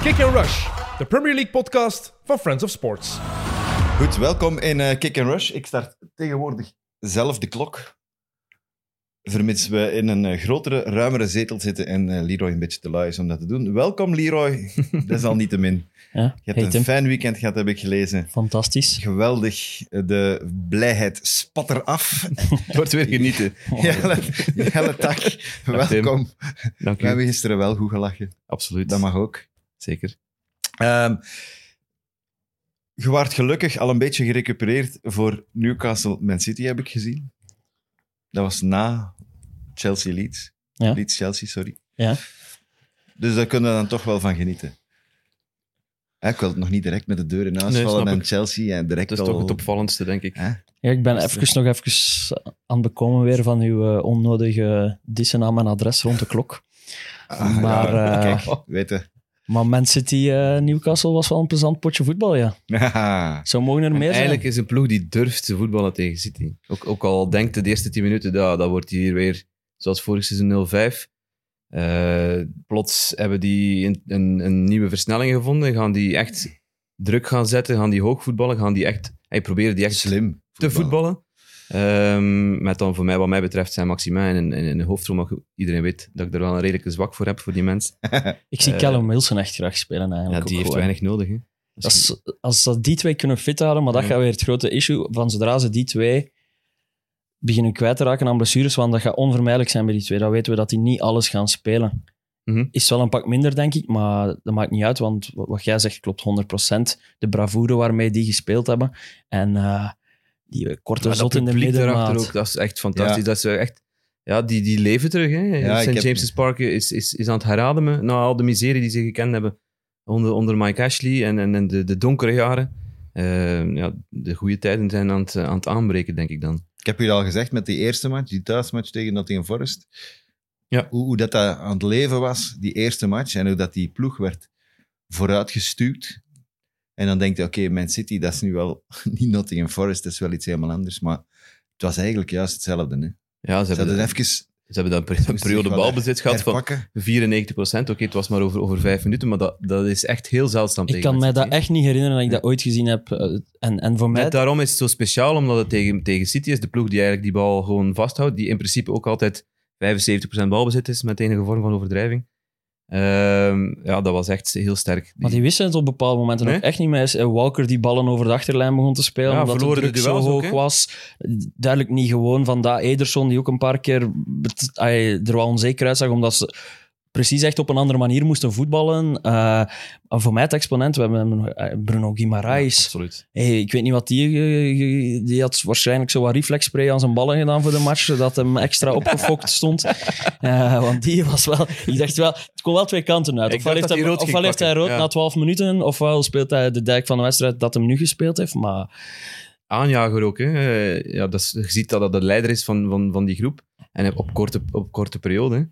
Kick and Rush, de Premier League podcast van Friends of Sports. Goed, welkom in eh, Kick and Rush. Ik start tegenwoordig zelf de klok. Vermits we in een eh, grotere, ruimere zetel zitten en eh, Leroy een beetje te lui is om dat te doen. Welkom, Leroy. Dat is al niet te min. Ja, Je hebt heet een hem. fijn weekend gehad, heb ik gelezen. Fantastisch. Geweldig. eh, De blijheid spat eraf. Het wordt weer genieten. Jelle, Jelle Tak, welkom. Dank We u. hebben gisteren wel goed gelachen. Absoluut. Dat mag ook. Zeker. Ehm je waart gelukkig al een beetje gerecupereerd voor Newcastle Man City, heb ik gezien. Dat was na Chelsea Leeds. Ja. Leeds Chelsea, sorry. Ja. Dus daar kunnen we dan toch wel van genieten. Hè, Ik wil het nog niet direct met de deur in huis Nee, vallen snap en ik. Chelsea en direct Dat is al... toch het opvallendste, denk ik. Hè? Ja, ik ben even, nog even aan het bekomen weer van uw eh, onnodige dissen aan mijn adres rond de klok. Ah, Maar, ja, eh, Kijk, weten. Maar Man City eh, Newcastle was wel een plezant potje voetbal, ja. Haha. Zo mogen er En meer eigenlijk zijn. is een ploeg die durft te voetballen tegen City. Ook, ook al denkt de eerste 10 minuten, ja, dat wordt hier weer zoals vorig seizoen 0-5. Eh, plots hebben die een, een, een nieuwe versnelling gevonden. Gaan die echt druk gaan zetten? Gaan die hoog voetballen? Gaan die echt... Hij probeert die echt Slim. te voetballen. Ehm, met dan voor mij, wat mij betreft, zijn Maxima in, in, in de hoofdrol. Maar goed, iedereen weet dat ik er wel een redelijke zwak voor heb, voor die mens. Ik zie eh, Callum Wilson echt graag spelen Ja, eigenlijk. die ook heeft gewoon. weinig nodig. Hè. Als, als dat die twee kunnen fit houden, maar dat Ja. gaat weer het grote issue. Van zodra ze die twee beginnen kwijt te raken aan blessures, want dat gaat onvermijdelijk zijn bij die twee. Dan weten we dat die niet alles gaan spelen. Mhm. Is wel een pak minder, denk ik, maar dat maakt niet uit, want wat wat jij zegt klopt 100%. De bravoure waarmee die gespeeld hebben. En eh, die korte Ja, zot in de publiek middenmaat. daarachter ook, dat is echt fantastisch. Ja. Dat ze echt, ja, die, die leven terug. Hè. ik St. heb- James's Park is, is, is aan het herademen na al de miserie die ze gekend hebben onder, onder Mike Ashley en, en, en de, de donkere jaren. Eh, ja, de goede tijden zijn aan het, eh, aan het aanbreken, denk ik dan. Ik heb u al gezegd met die eerste match, die thuismatch tegen Nottingham Forest. Ja. Hoe, hoe dat, dat aan het leven was, die eerste match, en hoe dat die ploeg werd vooruitgestuurd. En dan denk je, oké, Man City, dat is nu wel niet Nottingham Forest, dat is wel iets helemaal anders. Maar het was eigenlijk juist hetzelfde. Hè? Ja, ze Ze hebben, hadden ze even hebben dan een moesten periode zich wel balbezit gehad van herpakken. 94 Oké, het was maar over, over vijf minuten, maar dat, dat is echt heel zeldzaam. Ik tegen kan Man mij City, dat hè. echt niet herinneren dat ik dat ooit gezien heb. Eh, En, en voor mij Net daarom is het zo speciaal, omdat het tegen, tegen City is. De ploeg die eigenlijk die bal gewoon vasthoudt. Die in principe ook altijd 75% balbezit is, met enige vorm van overdrijving. Ehm, ja, dat was echt heel sterk. Maar die wisten het op bepaalde momenten Nee? ook echt niet meer. Is, eh, Walker die ballen over de achterlijn begon te spelen, Ja, omdat de verloren de druk zo duels ook, hoog hè? was. Duidelijk niet gewoon van dat Ederson, die ook een paar keer bet- ay, er wel onzeker uitzag, omdat ze precies echt op een andere manier moesten voetballen. Eh, en voor mij het exponent, we hebben hem, eh, Bruno Ja, Guimaraes. absoluut. Hey, ik weet niet wat die... eh, ge- Die had waarschijnlijk zo wat reflexspray aan zijn ballen gedaan voor de match, zodat hem extra opgefokt stond. Eh, want die was wel... Ik dacht wel... Het kon wel twee kanten uit. Ik Ofwel dacht heeft hij dat hij rood ofwel ging heeft hij pakken, rood ja. na 12 minuten, ofwel speelt hij de dijk van de wedstrijd dat hem nu gespeeld heeft. Maar Aanjager ook. Hè. Eh, Ja, dat is, je ziet dat dat de leider is van, van, van die groep. En op korte, op korte periode. hè.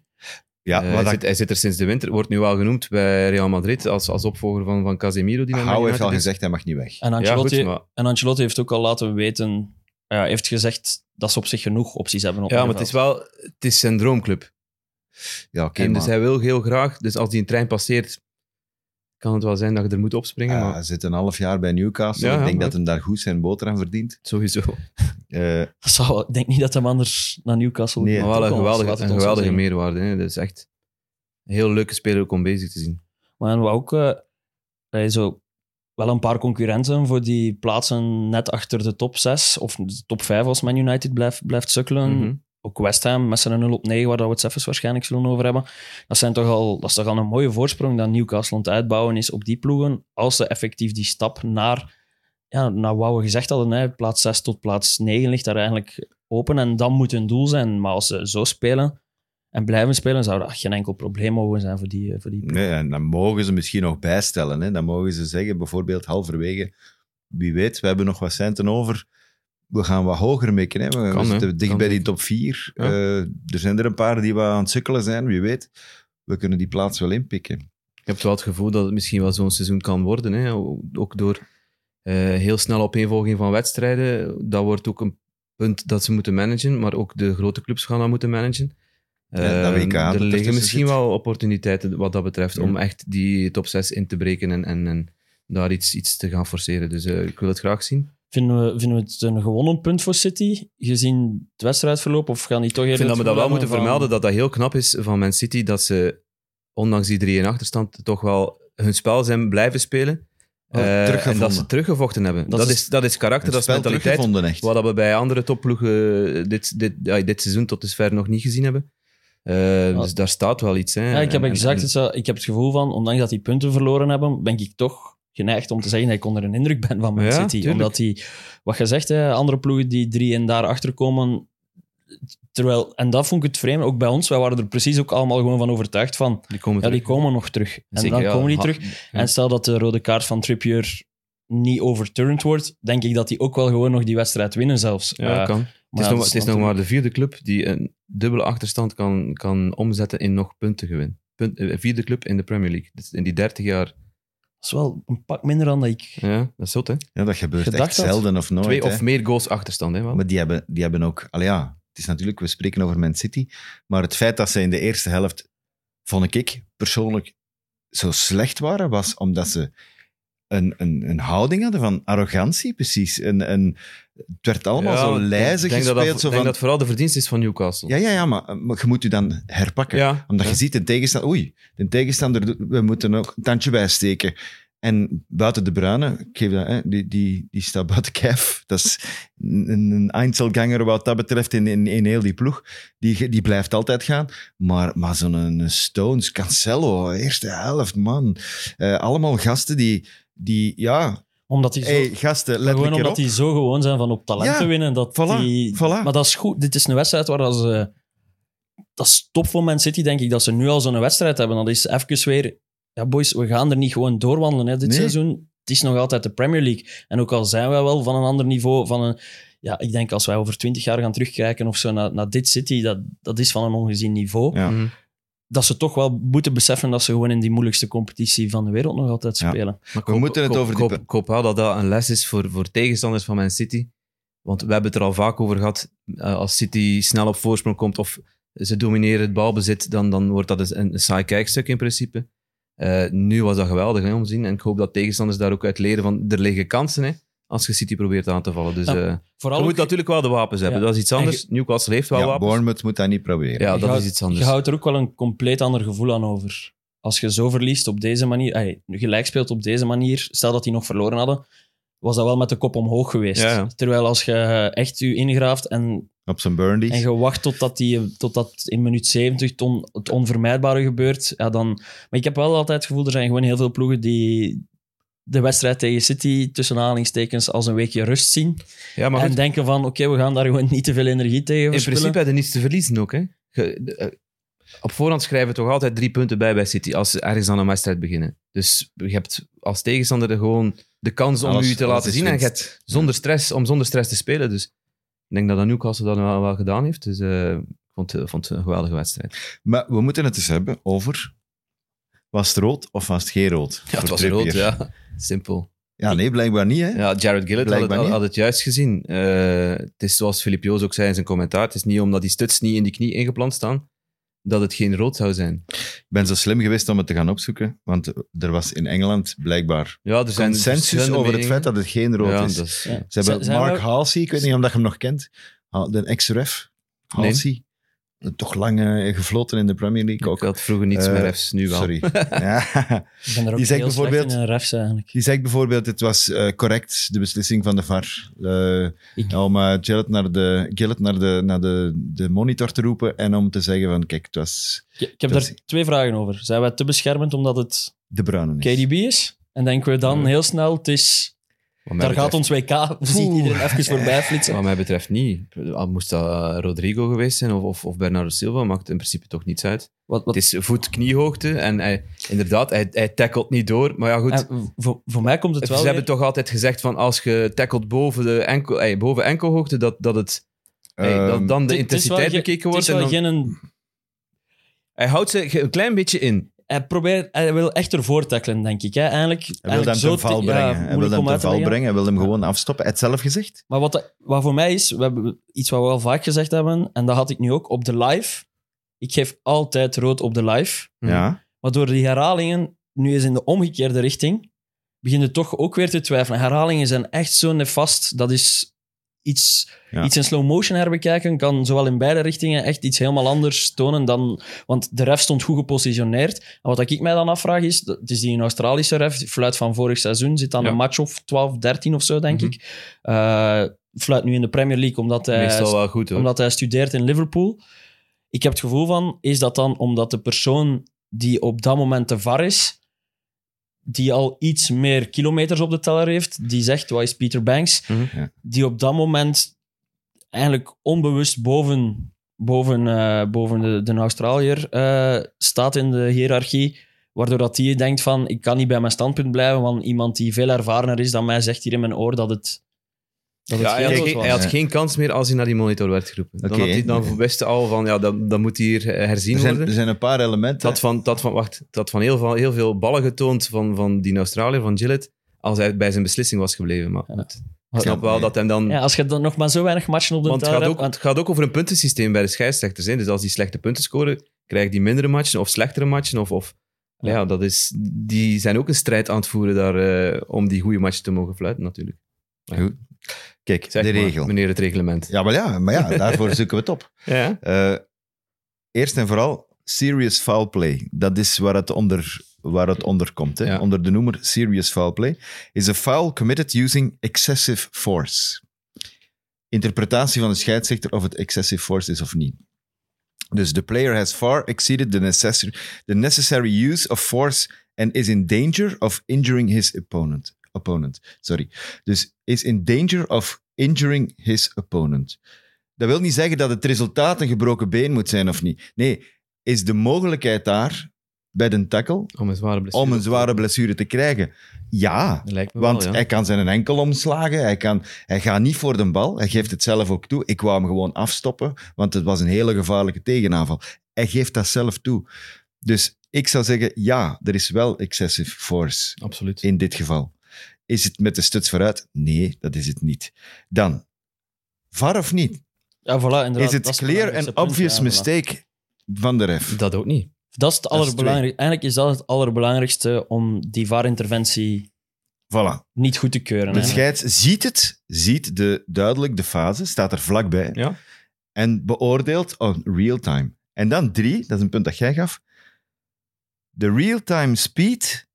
Ja, Eh, wat hij, dat- zit, hij zit er sinds de winter. Wordt nu wel genoemd bij Real Madrid als, als opvolger van, van Casemiro. Die naar Man Hou heeft United al is. gezegd, hij mag niet weg. en Ja, Ancelotti, goed, maar en Ancelotti heeft ook al laten weten... ja, heeft gezegd dat ze op zich genoeg opties hebben op Ja, maar het middenveld. is wel het is zijn droomclub. Ja, oké, En maar dus hij wil heel graag, dus als die een trein passeert, kan het wel zijn dat je er moet opspringen, ja, maar hij zit eh, een half jaar bij Newcastle. Ja, ik ja, denk maar- dat hem daar goed zijn boter aan verdient. sowieso. Eh, Dat zou- ik denk niet dat hem anders naar Newcastle Nee, gaat. maar wel een Laat het geweldige, ons een zo geweldige zeggen. meerwaarde. Hè. Dat is echt een heel leuke speler ook om bezig te zien. Maar en wat ook eh, bij zo wel een paar concurrenten voor die plaatsen net achter de top 6 of de top 5 als Man United blijft, blijft sukkelen. Mhm. Ook West Ham met zijn 0 op 9, waar dat we het zelfs waarschijnlijk zullen over hebben. Dat, zijn toch al, dat is toch al een mooie voorsprong dat Newcastle aan het uitbouwen is op die ploegen. Als ze effectief die stap naar, ja, naar wat we gezegd hadden, hè, plaats 6 tot plaats 9 ligt daar eigenlijk open. En dat moet hun doel zijn. Maar als ze zo spelen en blijven spelen, zou dat geen enkel probleem mogen zijn voor die, eh, voor die ploeg. Nee, en dan mogen ze misschien nog bijstellen. Hè? Dan mogen ze zeggen, bijvoorbeeld halverwege, wie weet, we hebben nog wat centen over. We gaan wat hoger mikken. Hè? We, we Kan, hè? zitten dicht Kan bij die zeker. top 4. Ja. er zijn er een paar die wat aan het sukkelen zijn, wie weet. We kunnen die plaats wel inpikken. Ik heb wel het gevoel dat het misschien wel zo'n seizoen kan worden. Hè. Ook door eh, heel snel opeenvolging van wedstrijden. Dat wordt ook een punt dat ze moeten managen, maar ook de grote clubs gaan dat moeten managen. Ja, dat Eh, WK dat er liggen ertussen misschien zit. wel opportuniteiten wat dat betreft Ja. om echt die top 6 in te breken en, en, en daar iets, iets te gaan forceren. Dus eh, ik wil het graag zien. Vinden we, vinden we het een gewonnen punt voor City, gezien het wedstrijdverloop? Of gaan die toch Ik eerder vind dat we het dat wel gevoel moeten vermelden, hebben dat dat heel knap is van Man City, dat ze ondanks die 3-1 achterstand toch wel hun spel zijn blijven spelen. Oh, Eh, en teruggevonden. dat ze teruggevochten hebben. Dat Dat, is- is, dat is karakter, Het dat is spel mentaliteit. teruggevonden, echt. Wat dat we bij andere topploegen eh, dit, dit, ja, dit seizoen tot dusver nog niet gezien hebben. Eh, Ja. Dus daar staat wel iets. Hè. Ja, ik heb En- en- exact hetzelfde. Ik heb het gevoel van, ondanks dat die punten verloren hebben, ben ik toch geneigd om te zeggen dat ik onder een indruk ben van Man Ja, City. tuurlijk. Omdat die, wat je zegt, hè, andere ploegen die drie en daar achter komen. Terwijl, en dat vond ik het vreemd, ook bij ons, wij waren er precies ook allemaal gewoon van overtuigd van, die komen ja, die terug. komen nog terug. En Zeker, dan ja, komen die ha- terug. Ja. En stel dat de rode kaart van Trippier niet overturned wordt, denk ik dat die ook wel gewoon nog die wedstrijd winnen zelfs. Ja, Eh, dat kan. maar Het is, ja, nog, dat het is nog maar natuurlijk- de vierde club die een dubbele achterstand kan, kan omzetten in nog punten gewin. Punt, eh, vierde club in de Premier League. Dus in die 30 jaar. Dat is wel een pak minder dan dat ik... Ja, dat is zot, hè? Ja, dat gebeurt Gedacht echt had. zelden of nooit. Twee hè. of meer goals achterstand, hè? wel. Maar die hebben, die hebben ook... Allee, ja, het is natuurlijk, we spreken over Man City, maar het feit dat ze in de eerste helft, vond ik persoonlijk, zo slecht waren, was omdat ze een, een, een houding hadden van arrogantie, precies. Een, een, het werd allemaal Ja, zo ik lijzig denk gespeeld. Dat dat, zo ik denk van, dat vooral de verdienst is van Newcastle. ja, ja, ja, maar, maar je moet je dan herpakken. Ja, Omdat ja. je ziet, de tegenstander... Oei, de tegenstander, doet- we moeten ook een tandje bijsteken. En buiten de Bruyne, ik geef dat, hè, die, die, die staat buiten kijf. Dat is een, een Einzelganger wat dat betreft in, in, in heel die ploeg. Die, ge- die blijft altijd gaan. Maar, maar zo'n een Stones, Cancelo, eerste helft, man. Eh, allemaal gasten die... die ja, Omdat die zo... hey, gasten, let gewoon een keer omdat op. die zo gewoon zijn van op talent Ja, te winnen. Dat voilà, die, voilà. Maar dat is goed. Dit is een wedstrijd waar dat ze... Dat is top voor Man City, denk ik, dat ze nu al zo'n wedstrijd hebben. Dat is even weer... Ja, boys, we gaan er niet gewoon doorwandelen hè, dit Nee. seizoen. Het is nog altijd de Premier League. En ook al zijn wij wel van een ander niveau, van een... Ja, ik denk als wij over twintig jaar gaan terugkijken of zo naar, naar dit City, dat, dat is van een ongezien niveau. Ja. Mhm. Dat ze toch wel moeten beseffen dat ze gewoon in die moeilijkste competitie van de wereld nog altijd Ja. spelen. Maar We moeten het over Ik die hoop- ik hoop wel dat dat een les is voor, voor tegenstanders van Man City. Want we hebben het er al vaak over gehad. eh, als City snel op voorsprong komt of ze domineren het balbezit, dan, dan wordt dat een, een saai kijkstuk in principe. Eh, nu was dat geweldig hè, om te zien. En ik hoop dat tegenstanders daar ook uit leren van er liggen kansen hè, als je City probeert aan te vallen. Dus Ja, eh, Vooral je moet ook- natuurlijk wel de wapens hebben. Ja. Dat is iets anders. Newcastle heeft wel Ja, wapens. Bournemouth moet dat niet proberen. Ja, Je dat is houdt- iets anders. Je houdt er ook wel een compleet ander gevoel aan over. Als je zo verliest op deze manier, ay, gelijk speelt op deze manier, stel dat die nog verloren hadden, was dat wel met de kop omhoog geweest. Ja, ja. Terwijl als je echt je ingraaft en, Op zijn Burnley. en je wacht totdat, die, totdat in minuut 70 ton, het onvermijdbare gebeurt, ja, dan... Maar ik heb wel altijd het gevoel, er zijn gewoon heel veel ploegen die de wedstrijd tegen City tussen aanhalingstekens als een weekje rust zien. Ja, maar en goed, denken van, oké, we gaan daar gewoon niet te veel energie tegen In verspillen. principe hadden niets te verliezen ook. Hè? Ge- de- eh, op voorhand schrijven we toch altijd drie punten bij bij City als ze ergens aan een wedstrijd beginnen. Dus je hebt als tegenstander gewoon de kans om Alles- u te alles laten is zien. En je winst. hebt zonder stress, om zonder stress te spelen. Dus ik denk dat dat Newcastle dat wel, wel gedaan heeft. Dus eh, ik vond, eh, vond het een geweldige wedstrijd. Maar we moeten het eens hebben over... Was het rood of was het geen rood? Ja, het Voor was rood, Trippier. ja. Simpel. Ja, nee, blijkbaar niet, hè? Ja, Jared Gillett had het, Blijkbaar niet. had het juist gezien. Eh, het is zoals Filip Joos ook zei in zijn commentaar. Het is niet omdat die stuts niet in die knie ingeplant staan, dat het geen rood zou zijn. Ik ben zo slim geweest om het te gaan opzoeken, want er was in Engeland blijkbaar Ja, er zijn consensus verschillende over het meningen. feit dat het geen rood ja, is. dat is- Ze Ja. hebben Zijn- zijn Mark we- Halsey, ik weet niet of dat je hem nog kent, Ha- de ex-ref, Nee. Halsey. Toch lang eh, gefloten in de Premier League Ik ook. had vroeger niets Eh, meer refs, nu wel. Sorry. ja. Ik ben er ook Die zegt heel slecht bijvoorbeeld- in een refs eigenlijk. Die zegt bijvoorbeeld, het was eh, correct, de beslissing van de VAR. eh, Ik- Om eh Gillett naar, de, Gillett naar, de, naar de, de monitor te roepen en om te zeggen van, kijk, het was Ik ik Dat heb daar is- twee vragen over. Zijn wij te beschermend omdat het de bruine. KDB is? En denken we dan Ja. heel snel, het is... Wat mij Daar gaat betreft- ons WK, we zien Oeh. iedereen even voorbij flitsen. Wat mij betreft niet. Al Moest dat eh, Rodrigo geweest zijn of, of, of Bernardo Silva, maakt in principe toch niets uit. Wat, wat, Het is voet-kniehoogte en hij, inderdaad, hij, hij tackelt niet door. Maar ja, goed. en voor, voor mij komt het Ze wel hebben weer- toch altijd gezegd van als je tackelt boven, de enkel, eh, boven enkelhoogte, dat, dat, het, eh, Ehm, dat dan de Het- het is wel intensiteit ge- bekeken wordt. Het en is wel dan- geen... een- Hij houdt ze een klein beetje in. Hij, probeert, hij wil echt ervoor tackelen, denk ik. Hè. Eigenlijk, Hij wilde hem eigenlijk ten zo val te- brengen. ja, hij moeilijk wilde hem om uit ten val te leggen. brengen. Hij wilde hem gewoon afstoppen. Hij had het zelf gezegd. Maar wat, wat voor mij is, we hebben iets wat we al vaak gezegd hebben, en dat had ik nu ook op de live. Ik geef altijd rood op de live. Mm. Ja. Maar door die herhalingen, nu eens in de omgekeerde richting, begin je toch ook weer te twijfelen. Herhalingen zijn echt zo nefast. Dat is iets, Ja. iets in slow motion herbekijken, kan zowel in beide richtingen echt iets helemaal anders tonen dan... Want de ref stond goed gepositioneerd. En wat ik mij dan afvraag is, dat- het is die een Australische ref, die fluit van vorig seizoen, zit aan Ja. een match of 12, 13 of zo, denk Mhm. ik. Eh, fluit nu in de Premier League omdat hij Meestal wel goed hoor. Eh, omdat hij studeert in Liverpool. Ik heb het gevoel van, is dat dan omdat de persoon die op dat moment de VAR is, die al iets meer kilometers op de teller heeft, die zegt, wat is Peter Banks, Mhm. Ja. die op dat moment eigenlijk onbewust boven, boven, eh, boven de, de Australiër eh, staat in de hiërarchie, waardoor dat die denkt van, ik kan niet bij mijn standpunt blijven, want iemand die veel ervarener is dan mij zegt hier in mijn oor dat het... Dat het Ja, hij, geen had, rood geen- was. hij had Ja. geen kans meer als hij naar die monitor werd geroepen. Oké. Dan, had hij, dan wist hij al van, ja, dat, dat moet hier eh, herzien Er zijn, er worden. zijn een paar elementen. Dat van, dat van, wacht, dat van heel, veel- heel veel ballen getoond van, van die Australiër, van Gillett, als hij bij zijn beslissing was gebleven. Maar Ja. goed, Ja. ik snap wel dat hem dan... Ja, als je dan nog maar zo weinig matchen op de Hm. want het teller gaat, hebt... ook, het gaat ook over een puntensysteem bij de scheidsrechters. Hè? Dus als die slechte punten scoren, krijgen die mindere matchen of slechtere matchen. Of, of, ja. dat is, die zijn ook een strijd aan het voeren daar, eh, om die goede matchen te mogen fluiten natuurlijk. Kijk, Zeg de maar, regel. meneer het reglement. Ja, maar ja, maar ja, daarvoor zoeken we het op. Ja. Eh, eerst en vooral, serious foul play. Dat is waar het onder, waar het onder komt. Hè? Ja. Onder de noemer serious foul play. Is a foul committed using excessive force. Interpretatie van de scheidsrechter of het excessive force is of niet. Dus the player has far exceeded the necessary, the necessary use of force and is in danger of injuring his opponent. opponent. Sorry. Dus is in danger of injuring his opponent. Dat wil niet zeggen dat het resultaat een gebroken been moet zijn of niet. Nee, is de mogelijkheid daar bij de tackle Om een zware blessure. om een zware blessure te krijgen? Ja, Lijkt me want wel, ja. hij kan zijn enkel omslagen, hij, kan, hij gaat niet voor de bal, hij geeft het zelf ook toe. Ik wou hem gewoon afstoppen, want het was een hele gevaarlijke tegenaanval. Hij geeft dat zelf toe. Dus ik zou zeggen, ja, er is wel excessive force Absoluut. in dit geval. Is het met de stuts vooruit? Nee, dat is het niet. Dan, var of niet? Ja, voilà, inderdaad. Is dat het clear belangrijkste and punt, obvious ja, voilà. mistake van de ref? Dat ook niet. Dat is het is allerbelangrijkste. Eigenlijk is dat het allerbelangrijkste om die VAR-interventie Voilà. niet goed te keuren. De eigenlijk. scheids ziet het, ziet de, duidelijk de fase, staat er vlakbij Ja. en beoordeelt on real time. En dan drie, dat is een punt dat jij gaf. The real-time speed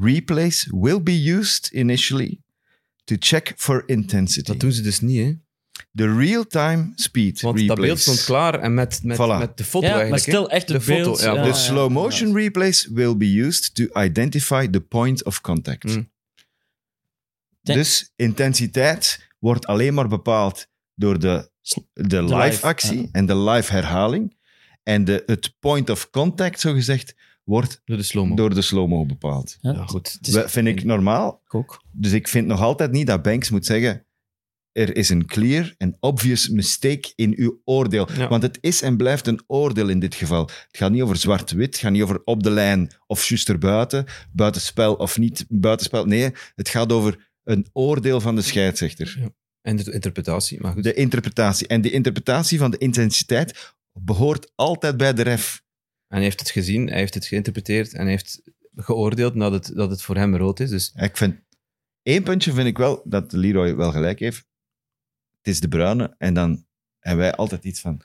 replays will be used initially to check for intensity. Dat doen ze dus niet, hè. The real-time speed Want replays. dat beeld stond klaar en met, met, Voilà. met de foto Ja, maar eigenlijk. hè. stil echt De het foto, beeld. ja, dus- The ja, slow motion replays will be used to identify the point of contact. Mm. Denk- Dus intensiteit wordt alleen maar bepaald door de, S- de live, live, actie ja. en de live herhaling. En de, het point of contact, zogezegd, wordt Door dus de slow-mo. door de slow-mo bepaald. Ja, Ja, goed. het is Dat vind ik normaal. ook. Dus ik vind nog altijd niet dat Banks moet zeggen... Er is een clear en obvious mistake in uw oordeel. Ja. Want het is en blijft een oordeel in dit geval. Het gaat niet over zwart-wit, het gaat niet over op de lijn of juist erbuiten, buitenspel of niet buitenspel. Nee, het gaat over een oordeel van de scheidsrechter. En de interpretatie, maar goed. De interpretatie. En de interpretatie van de intensiteit behoort altijd bij de ref. En hij heeft het gezien, hij heeft het geïnterpreteerd en hij heeft geoordeeld dat het, dat het voor hem rood is. Dus Ik vind, één puntje vind ik wel dat Leroy wel gelijk heeft. Het is de bruine en dan hebben wij altijd iets van...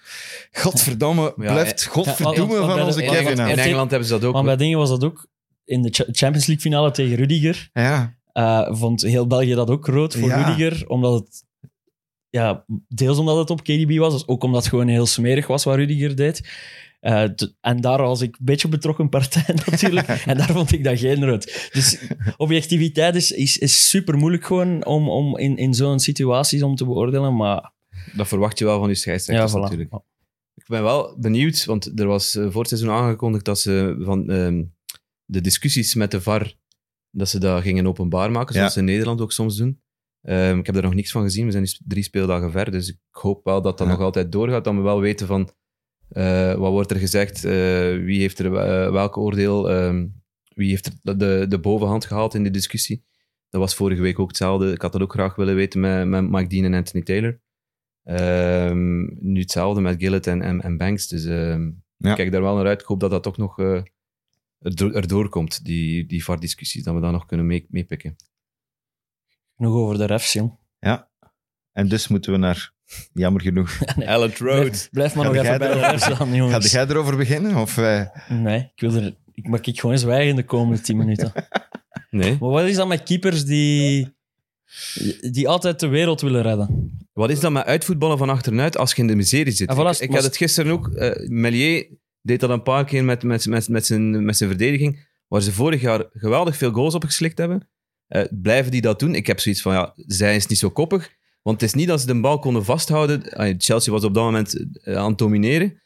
Godverdomme, Ja, blijft godverdomme want- want van bij onze de- Kevin want- af. in heeft- Engeland hebben ze dat ook. Maar hoor. bij dingen was dat ook in de Cha- Champions League finale tegen Rudiger. Ja, eh, vond heel België dat ook rood voor Ja. Rudiger, omdat het... Ja, deels omdat het op KDB was, dus ook omdat het gewoon heel smerig was wat Rudiger deed. Eh, t- en daar was ik een beetje betrokken partij natuurlijk. en daar vond ik dat geen rood. Dus objectiviteit is, is, is super moeilijk gewoon om, om in, in zo'n situaties om te beoordelen. Maar Dat verwacht je wel van je ja, scheidsrechters voilà. Oh, natuurlijk. Ik ben wel benieuwd, want er was eh, voor het seizoen aangekondigd dat ze van ehm, de discussies met de VAR, dat ze dat gingen openbaar maken, zoals Ja. ze in Nederland ook soms doen. Ehm, ik heb daar nog niks van gezien. We zijn nu drie speeldagen ver, dus ik hoop wel dat dat Ja. nog altijd doorgaat. Dat we wel weten van eh, wat wordt er gezegd, eh, wie heeft er eh, welk oordeel, ehm, wie heeft er de- de, de bovenhand gehaald in de discussie. Dat was vorige week ook hetzelfde. Ik had dat ook graag willen weten met, met Mike Dean en Anthony Taylor. Ehm, nu hetzelfde met Gillet en, en, en Banks. Dus ehm, Ja. Ik kijk daar wel naar uit. Ik hoop dat dat toch nog eh, erdo- erdoor komt, die, die VAR-discussies, dat we daar nog kunnen mee- meepikken. Nog over de refs, jong. En dus moeten we naar, jammer genoeg, Ellet Blijf, blijf maar Ga nog jij even bij de erover- refs aan, gaat jongens. jij erover beginnen? Of, eh, Nee, ik wil er... Ik mag ik gewoon zwijgen de komende 10 minuten. Nee. Maar wat is dat met keepers die, die altijd de wereld willen redden? Wat is dat met uitvoetballen van achteruit als je in de miserie zit? En voilà, ik ik maar- had het gisteren ook. eh Melier deed dat een paar keer met, met, met, met, zijn, met zijn verdediging, waar ze vorig jaar geweldig veel goals op geslikt hebben. Eh, blijven die dat doen? Ik heb zoiets van, ja, zij is niet zo koppig. Want het is niet dat ze de bal konden vasthouden. Ah, Chelsea was op dat moment eh, aan het domineren.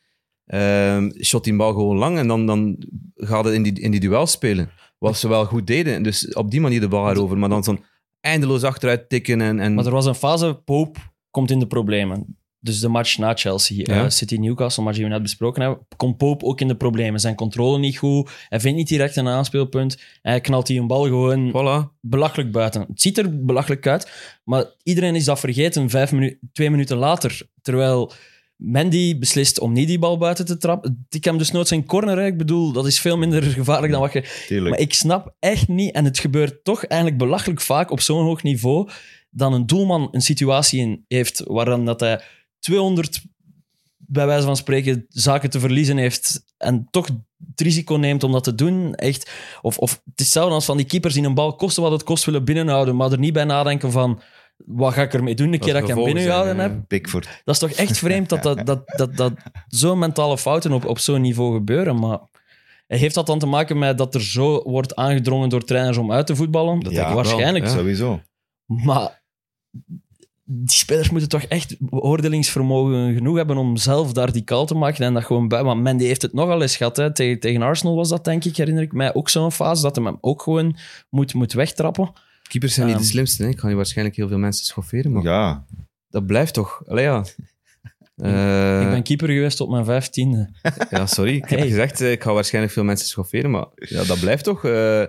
Ehm shot die bal gewoon lang en dan, dan gaat het in die, in die duel spelen. Wat ze wel goed deden. Dus op die manier de bal erover. Maar dan zo'n eindeloos achteruit tikken en... en... Maar er was een fase, Pope komt in de problemen. Dus de match na Chelsea, eh, Ja. City-Newcastle, match die we net besproken hebben, komt Pope ook in de problemen. Zijn controle niet goed, hij vindt niet direct een aanspeelpunt. Hij knalt die een bal gewoon Voilà. belachelijk buiten. Het ziet er belachelijk uit, maar iedereen is dat vergeten vijf minu twee minuten later. Terwijl Mandy beslist om niet die bal buiten te trappen. Ik hem dus nooit zijn corner, hè. ik bedoel, dat is veel minder gevaarlijk dan wat je tuurlijk. maar ik snap echt niet, en het gebeurt toch eigenlijk belachelijk vaak op zo'n hoog niveau, dat een doelman een situatie in heeft waarin dat hij 200, bij wijze van spreken, zaken te verliezen heeft en toch het risico neemt om dat te doen. Echt. Of, of het is hetzelfde als van die keepers die een bal kosten wat het kost willen binnenhouden, maar er niet bij nadenken van... Wat ga ik ermee doen de Wat keer dat ik hem gevolgen binnengehouden zijn, heb? ja. Pickford. Dat is toch echt vreemd dat, dat, dat, dat, dat zo'n mentale fouten op, op zo'n niveau gebeuren. Maar heeft dat dan te maken met dat er zo wordt aangedrongen door trainers om uit te voetballen? Dat denk ik wel, waarschijnlijk. ja. Sowieso. Maar die spelers moeten toch echt beoordelingsvermogen genoeg hebben om zelf daar die call te maken en dat gewoon bij. Want Mandy heeft het nogal eens gehad. Hè. Tegen, tegen Arsenal was dat, denk ik, herinner ik mij ook zo'n fase dat hij hem ook gewoon moet, moet wegtrappen. Keepers zijn niet de Ehm. slimste. Hè? Ik ga nu waarschijnlijk heel veel mensen schofferen, maar Ja, dat blijft toch. Allee, ja. Eh, ik ben keeper geweest tot mijn vijftiende. ja, sorry. Ik heb Hey. gezegd, eh, ik ga waarschijnlijk veel mensen schofferen, maar ja, dat blijft toch. eh.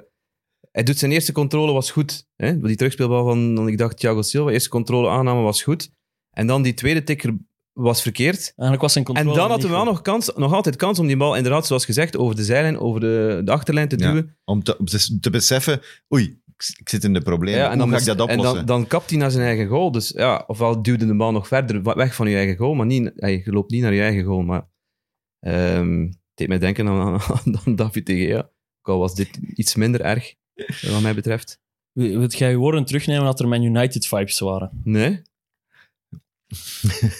hij doet zijn eerste controle, was goed. Hè? Die terugspeelbal van, dan ik dacht, Thiago Silva, eerste controle aanname was goed. En dan die tweede tikker was verkeerd. Eigenlijk was zijn En controle dan niet hadden we wel goed. nog, kans, nog altijd kans om die bal, inderdaad, zoals gezegd, over de zijlijn, over de, de achterlijn te Ja. duwen. om te, om te- te beseffen, oei, ik, ik zit in de problemen. Ja, en dan, Hoe ga ik mis- dat oplossen? En dan, dan kapt hij naar zijn eigen goal. Dus ja, ofwel duwde de bal nog verder wa- weg van je eigen goal, maar niet, hey, je loopt niet naar je eigen goal. Maar ehm, het deed mij denken aan, aan, aan David tegen ja. Ook al was dit iets minder erg, eh, wat mij betreft. Wil wil jij je woorden terugnemen dat er mijn United-vibes waren? Nee.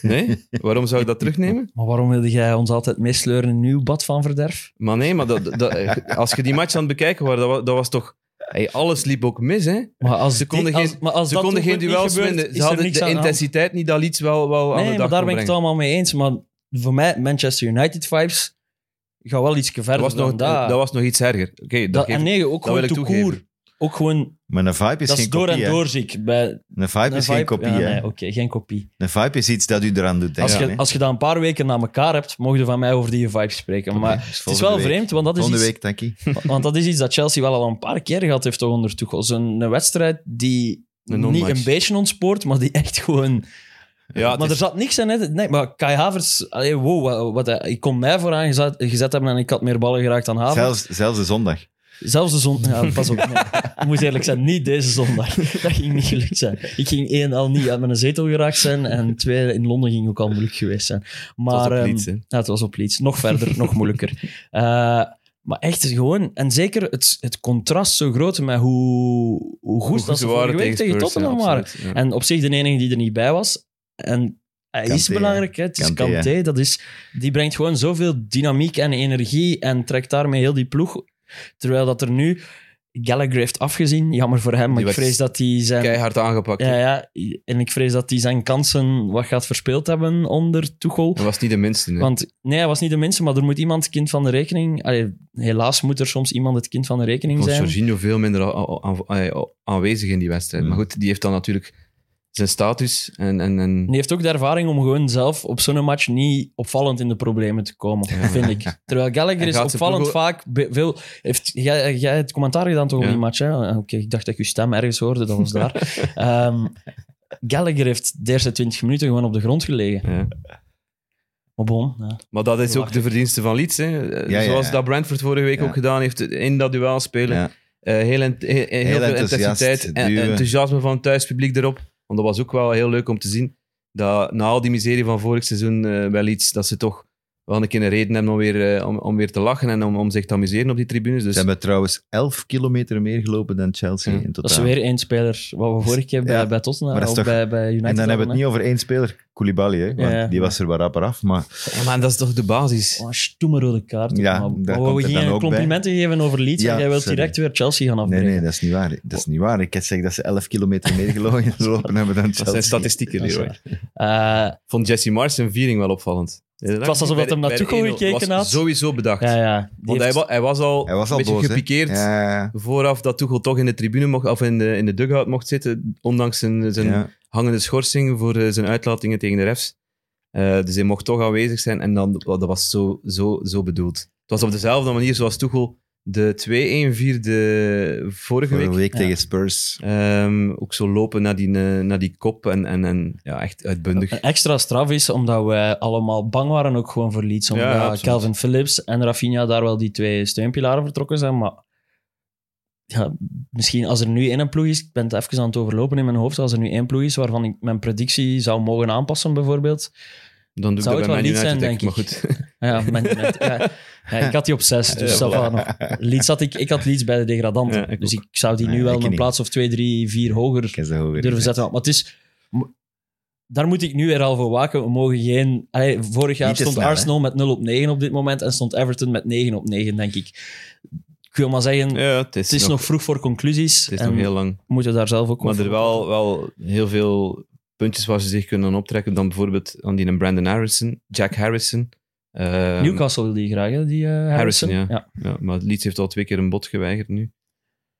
Nee? Waarom zou ik dat terugnemen? Maar waarom wilde jij ons altijd meesleuren in een nieuw bad van verderf? Maar nee, maar dat, dat, eh, als je die match aan het bekijken was, dat, wa- dat was toch... hey, alles liep ook mis, hè? Maar als, Ze konden die- als- geen- maar als Ze dat konden geen doelpunt niet duels gebeurt, vinden. is Ze er hadden niks de aan hand. intensiteit niet dat iets wel, wel aan Nee, de maar dag daar kon ben ik brengen. het allemaal mee eens. Maar voor mij, Manchester United-vibes gaan wel iets verder Dat was, dan nog, dat. dat was nog iets erger. Oké, dat Dat- geef en ik- nee, ook dat wil gewoon ik te toegeven. koer. Ook gewoon, maar een vibe is dat geen is door kopie. en hè. door ziek. Bij Een vibe een is geen vibe- kopie. ja, hè. nee, Oké, geen kopie. Een vibe is iets dat u eraan doet Als, denken. je, hè. als je dat een paar weken na elkaar hebt, mogen je van mij over die vibes spreken. Maar Oké, dus het is volgende wel week. vreemd, want dat is Volgende iets week, denk ik. Want dat is iets dat Chelsea wel al een paar keer gehad heeft toch onder Tuchel. Zo'n een wedstrijd die Een niet non-match. een beetje ontspoort, maar die echt gewoon... Ja, het maar er is- zat niks in. Hè. Nee, maar Kai Havers... Allee, wow, wat, wat hij- ik kon mij vooraan gezet, gezet hebben en ik had meer ballen geraakt dan Havers. Zelfs, zelfs de zondag. Zelfs de zondag... Ja, pas op. nee. Ik moet eerlijk zijn, niet deze zondag. Dat ging niet gelukt zijn. Ik ging één al niet uit mijn zetel geraakt zijn en twee in Londen ging ook al moeilijk geweest zijn. Maar, was op ehm, Leeds, hè. ja, het was op Leeds. Nog verder, nog moeilijker. Eh, maar echt gewoon... En zeker het, het contrast zo groot met hoe, hoe goed, Hoe dat ze vorige week tegen Spurs, Tottenham ja, waren. absoluut, ja. En op zich de enige die er niet bij was. En hij is Kanté, belangrijk, hè. het is Kanté, hè. Kanté. Dat is, die brengt gewoon zoveel dynamiek en energie en trekt daarmee heel die ploeg. Terwijl dat er nu... Gallagher heeft afgezien, jammer voor hem, maar Die ik werd vrees dat hij zijn... Keihard aangepakt. Ja, ja, en ik vrees dat hij zijn kansen wat gaat verspeeld hebben onder Tuchel. Dat was niet de minste. nee. Want nee, hij was niet de minste, maar er moet iemand kind van de rekening... Allee, helaas moet er soms iemand het kind van de Ik rekening vond zijn. Jorginho veel minder a- a- aan- a- a- aanwezig in die wedstrijd. Hmm. Mm. Maar goed, die heeft dan natuurlijk zijn status. En, en, en... En die heeft ook de ervaring om gewoon zelf op zo'n match niet opvallend in de problemen te komen, vind ik. Terwijl Gallagher En is gaat ze opvallend ploeg- vaak... be- Veel, heeft, jij, jij hebt commentaar gedaan toch Ja. op die match, hè? Eh, Oké, ik dacht dat ik je stem ergens hoorde, dat was daar. Ehm, Gallagher heeft de eerste 20 minuten gewoon op de grond gelegen. Ja. Maar bon, ja. Maar dat is ook Lachen. de verdienste van Leeds. Hè. Eh, Ja, ja, Zoals ja. dat Brentford vorige week Ja. ook gedaan heeft in dat duel spelen. Ja. Eh, heel, ent- he- he- Heel heel veel enthousiast intensiteit en duwen. enthousiasme van het thuispubliek erop. Want dat was ook wel heel leuk om te zien. Dat na al die miserie van vorig seizoen eh, wel iets, dat ze toch wel een keer een reden hebben om weer, eh, om, om weer te lachen en om, om zich te amuseren op die tribunes. Dus Ze hebben trouwens 11 kilometer meer gelopen dan Chelsea Ja, in totaal. dat is weer één speler wat we vorige keer bij, Ja, bij Tottenham maar dat of is toch- bij, bij United en dan hebben we hadden, het niet over één speler, Koulibaly, hè, want Ja. die was er wat rapper af. Maar Ja, maar dat is toch de basis? Oh, een stomme rode kaart. Ja, maar, daar maar komt we het dan gingen ook complimenten geven over Leeds Ja, en jij wilt sorry. direct weer Chelsea gaan nee, afbreken. nee, dat is niet waar. Dat is niet waar. Ik zeg dat ze 11 kilometer meer gelopen gelopen hebben dan Chelsea. Dat zijn statistieken, Dat is Leroy. waar. Eh, Vond Jesse Mars zijn viering wel opvallend. Het was alsof dat hem naar Tuchel gekeken had. Sowieso bedacht. ja, ja. Die Want hij, heeft- wa- hij was al Hij was al een beetje boos, hè? gepikeerd. Ja, Vooraf dat Tuchel toch in de tribune mocht, of in de, in de dugout mocht zitten, ondanks zijn, zijn ja. hangende schorsing voor eh, zijn uitlatingen tegen de refs. Eh, dus hij mocht toch aanwezig zijn en dan, oh, dat was zo, zo, zo bedoeld. Het was op dezelfde manier zoals Tuchel de 2-1 vierde vorige Vorige week. week Ja. tegen Spurs. Ehm, ook zo lopen naar die, eh, naar die kop en, en, en ja, echt uitbundig. Een extra straf is omdat wij allemaal bang waren ook gewoon voor Leeds. Omdat Ja, ja, absoluut. Calvin Phillips en Rafinha daar wel die twee steunpilaren vertrokken zijn. Maar ja, misschien als er nu één ploeg is, ik ben het even aan het overlopen in mijn hoofd, als er nu één ploeg is waarvan ik mijn predictie zou mogen aanpassen bijvoorbeeld. Dan doe ik Zou dat het wel bij Man Leeds zijn, United, denk ik. Maar denk ik. goed, Ja, Man United. ja. Ja, ik had die op zes, dus Ja, dat was nog. Leeds had ik, ik had Leeds bij de degradanten. Ja, ik dus ook. ik zou die nu Ja, ik wel een niet. plaats of twee, drie, vier hoger Ik ken ze hoger. durven zetten. Maar het is... mo- Daar moet ik nu er al voor waken. We mogen geen... allee, vorig jaar Niet te stond snel, Arsenal met 0 op 9 op dit moment en stond Everton met 9 op 9, denk ik. Ik wil maar zeggen, ja, het is, het is nog, nog, vroeg voor conclusies. het is en nog heel lang. we moeten daar zelf ook Maar over- er wel, wel heel veel puntjes waar ze zich kunnen aan optrekken. Dan bijvoorbeeld aan die Brandon Harrison, Jack Harrison. Ehm, Newcastle wil die graag, hè? Die, eh, Harrison. ja. Ja, maar Leeds heeft al twee keer een bod geweigerd nu.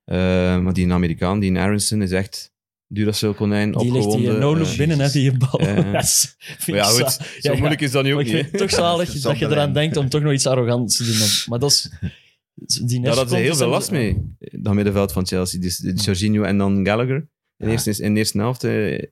Ehm, maar die Amerikaan, die Harrison, is echt duur als zo'n konijn. Die ligt die opgewonden, eh, no-look eh, binnen, hè, die bal. Ja, ja. Dat is- vind Maar ja, ik goed, za- zo Ja, ja. moeilijk is dat nu ook Maar ik niet. vind hè. het toch zalig Dat is dat je eraan zonderling. denkt om toch nog iets arrogants te doen. Maar dat is... Die Daar hadden ze heel Nescontes veel hebben- last mee. Dat middenveld van Chelsea. Dus eh, Jorginho en dan Gallagher. In, Ja. eerste, in de eerste helft, eh,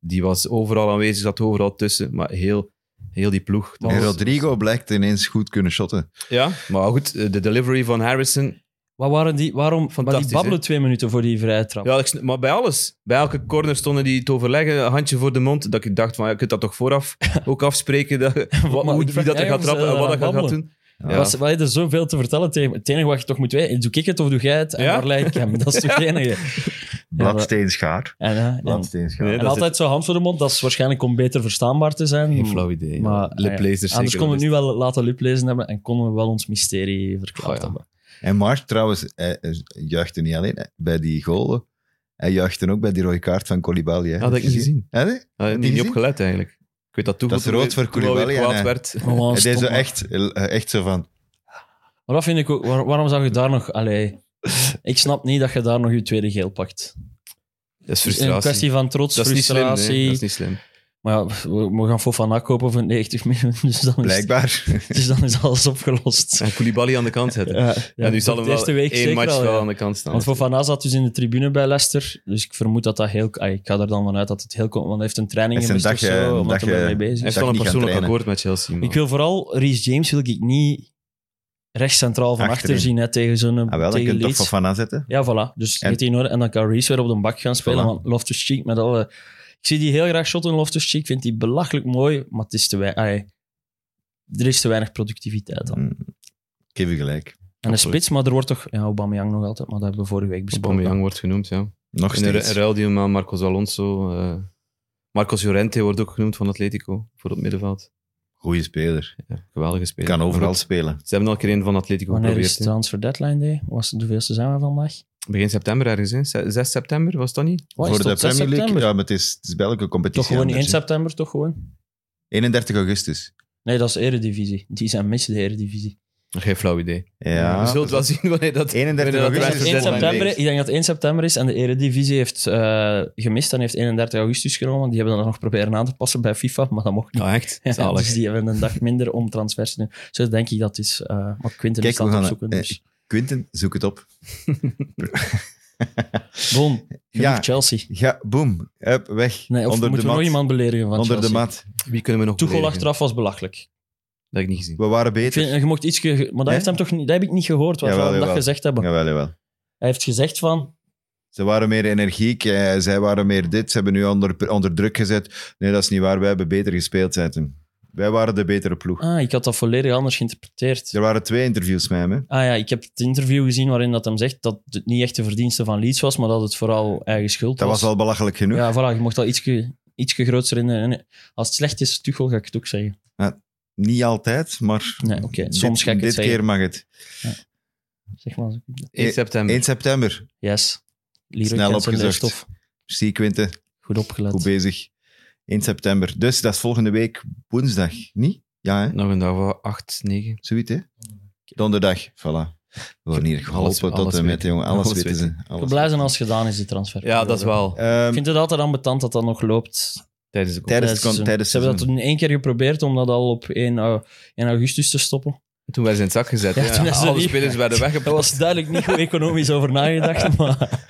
die was overal aanwezig, zat overal tussen. Maar heel, heel die ploeg. dat En was- Rodrigo blijkt ineens goed kunnen shotten. Ja, maar goed, eh, de delivery van Harrison. Wat waren die, waarom, maar die Fantastisch, babbelen twee minuten voor die vrije trap. Ja, ik snap- maar bij alles. Bij elke corner stonden die te overleggen, een handje voor de mond. Dat ik dacht, van, ja, je kunt dat toch vooraf ook afspreken. Dat, wat, Maar hoe, ik wie vraag dat mij er gaat of ze trappen en wat daaraan dat gaat- gaat babbelen. doen. Ja. Was, wij hadden zoveel te vertellen tegen Het enige wat je toch moet weten, doe ik het of doe jij het? En Ja. waar leid ik hem? Dat is toch het enige? Bladsteenschaar. En, eh, en, en Bladsteenschaar. Nee, dat is altijd zo'n hand voor de mond, dat is waarschijnlijk om beter verstaanbaar te zijn. Geen flauw idee. Maar, Maar, eh, Anders konden we het nu wel laten liplezen hebben en konden we wel ons mysterie verklaard Oh ja. hebben. En Mark trouwens, hij, hij juichte niet alleen hè, bij die goal. Hij juichte ook bij die rode kaart van Koulibaly. Hè. Dat had ik niet gezien. Hè, nee? Ah, Heb je niet gezien? opgelet eigenlijk. Ik weet dat toen Dat is rood voor toen wel weer Koulibaly en, kwaad eh, werd. Gewoon Hij deed zo stom, maar- echt, eh, echt zo van... Maar dat vind ik ook... waar- waarom zou je daar nog... Allee, ik snap niet dat je daar nog je tweede geel pakt. Dat is Het is een frustratie. kwestie van trots, Dat is niet slim. frustratie. nee. Dat is niet slim. Maar ja, we, we gaan Fofana kopen voor 90 miljoen, dus dan is, Blijkbaar. dus dan is alles opgelost. En Koulibaly aan de kant zetten. Ja, Ja, nu zal voor hem de eerste wel week één zeker match al, ja. wel aan de kant staan. Want Fofana zat dus in de tribune bij Leicester, dus ik vermoed dat dat heel... ah, Ik ga er dan vanuit dat het heel komt, want hij heeft een training Hij is een gemist of dagje- zo, een eh, omdat hij dagje- mee bezig Hij is. heeft al niet een gaan persoonlijk trainen. akkoord met Chelsea. man. Ik wil vooral... Reece James wil ik niet rechts centraal van achter, Achterin. zien, hè, tegen zo'n... Ah, wel, dan tegen kun je toch Leeds. van van aanzetten. Ja, voilà. Dus En- en... in orde. En dan kan Reese weer op de bak gaan spelen. Voilà. Want Loftus-Cheek met alle... Ik zie die heel graag shotten, Loftus-Cheek. Ik vind die belachelijk mooi, maar het is te weinig... Er is te weinig productiviteit aan. Mm. Ik geef je gelijk. En de absoluut. spits, maar er wordt toch... Ja, Aubameyang nog altijd, maar dat hebben we vorige week besproken. Aubameyang wordt genoemd, ja. Nog In een ru- steeds. een ruil die hem aan Marcos Alonso... eh, Marcos Llorente wordt ook genoemd van Atletico, voor op middenveld. Goeie speler. Ja, geweldige speler. Kan Maar overal goed, spelen. Ze hebben al een keer een van Atletico Wanneer is geprobeerd. hè. transfer deadline day? Was het de veelste zijn we vandaag? Begin september ergens, hè. Ze- 6 september, was dat niet? Wat, is Voor de tot 6 Premier League. september? Ja, maar het is, het is bij elke competitie. toch gewoon anders, 1 hè. september, toch gewoon? 31 augustus. Nee, dat is eredivisie. Die zijn mis, de eredivisie. Geen flauw idee. Ja. Je zult wel zien wanneer dat... 31 wanneer dat augustus. Dus is 1 volgende september, week. ik denk dat 1 september is en de Eredivisie heeft eh, gemist en heeft 31 augustus genomen. Die hebben dat nog proberen aan te passen bij FIFA, maar dat mocht niet. Ah, echt? Ja, Zalig. dus die hebben een dag minder om transfers te doen. Zo denk ik dat is. eh maar Quinten Kijk, is aan we het gaan- eh, opzoeken. Dus. Quinten, zoek het op. Bon, genoeg Ja. Chelsea. Ja, boom. Hup, weg. Nee, of onder de moeten we nog mat. iemand beledigen van Onder de Chelsea? mat. Wie kunnen we nog Tuchel beledigen? achteraf was belachelijk. Dat heb ik niet gezien. We waren Ik beter. vind, je mocht iets, maar dat, Ja? heeft hem toch niet, dat heb ik niet gehoord wat Jawel, we dat jawel. gezegd hebben. Jawel, jawel. Hij heeft gezegd van, Ze waren meer energiek, eh, zij waren meer dit, ze hebben nu onder, onder druk gezet. Nee, dat is niet waar, wij hebben beter gespeeld, zei hij. Wij waren de betere ploeg. ah, ik had dat volledig anders geïnterpreteerd. Er waren twee interviews met hem. Hè. Ah ja, ik heb het interview gezien waarin dat hem zegt dat het niet echt de verdienste van Leeds was, maar dat het vooral eigen schuld Dat was al belachelijk genoeg. Ja, voilà, je mocht al ietsje, ietsje groter in. de- in- Als het slecht is, Tuchel ga ik het ook zeggen. Niet altijd, maar Nee, oké, dit- soms ga ik het dit zeggen. keer mag het. Zeg maar. 1 september. 1 september. Yes. Leroy Snel kent zijn opgezocht. leerstof. Zie Quinten, Goed opgelet. goed bezig. 1 september. Dus dat is volgende week woensdag, niet? Ja, hè? Nog een dag van 8, 9. Zoiets, hè? Donderdag, voilà. We worden hier geholpen Alles- tot alles en met, weten. jongen. Alles, Alles weten ze. Alles Ik ben blij zijn als het gedaan is, die transfer. Ja, dat is wel. Ehm, Ik vind het altijd ambetant dat dat nog loopt. Tijdens de Tijdens het het kon- tijdens Ze hebben dat seizoen. toen één keer geprobeerd om dat al op 1, au- 1 augustus te stoppen. Toen werden ze in het zak gezet. Ja, Ja, toen is ze Alle niet- spelers werden Daar weggeplaatst. was duidelijk niet goed economisch over nagedacht, maar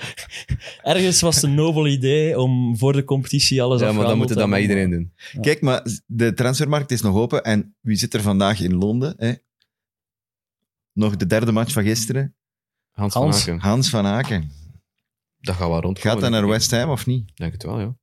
ergens was het een nobel idee om voor de competitie alles Ja, maar afgehandeld dan moeten te we dat met hebben. iedereen doen. Kijk, maar de transfermarkt is nog open. En wie zit er vandaag in Londen? Hè? Nog de derde match van gisteren. Hans van Hans. Aken. Hans van Aken. Dat gaat wel rond. Gaat dat naar West Ham of niet? Denk het wel, ja.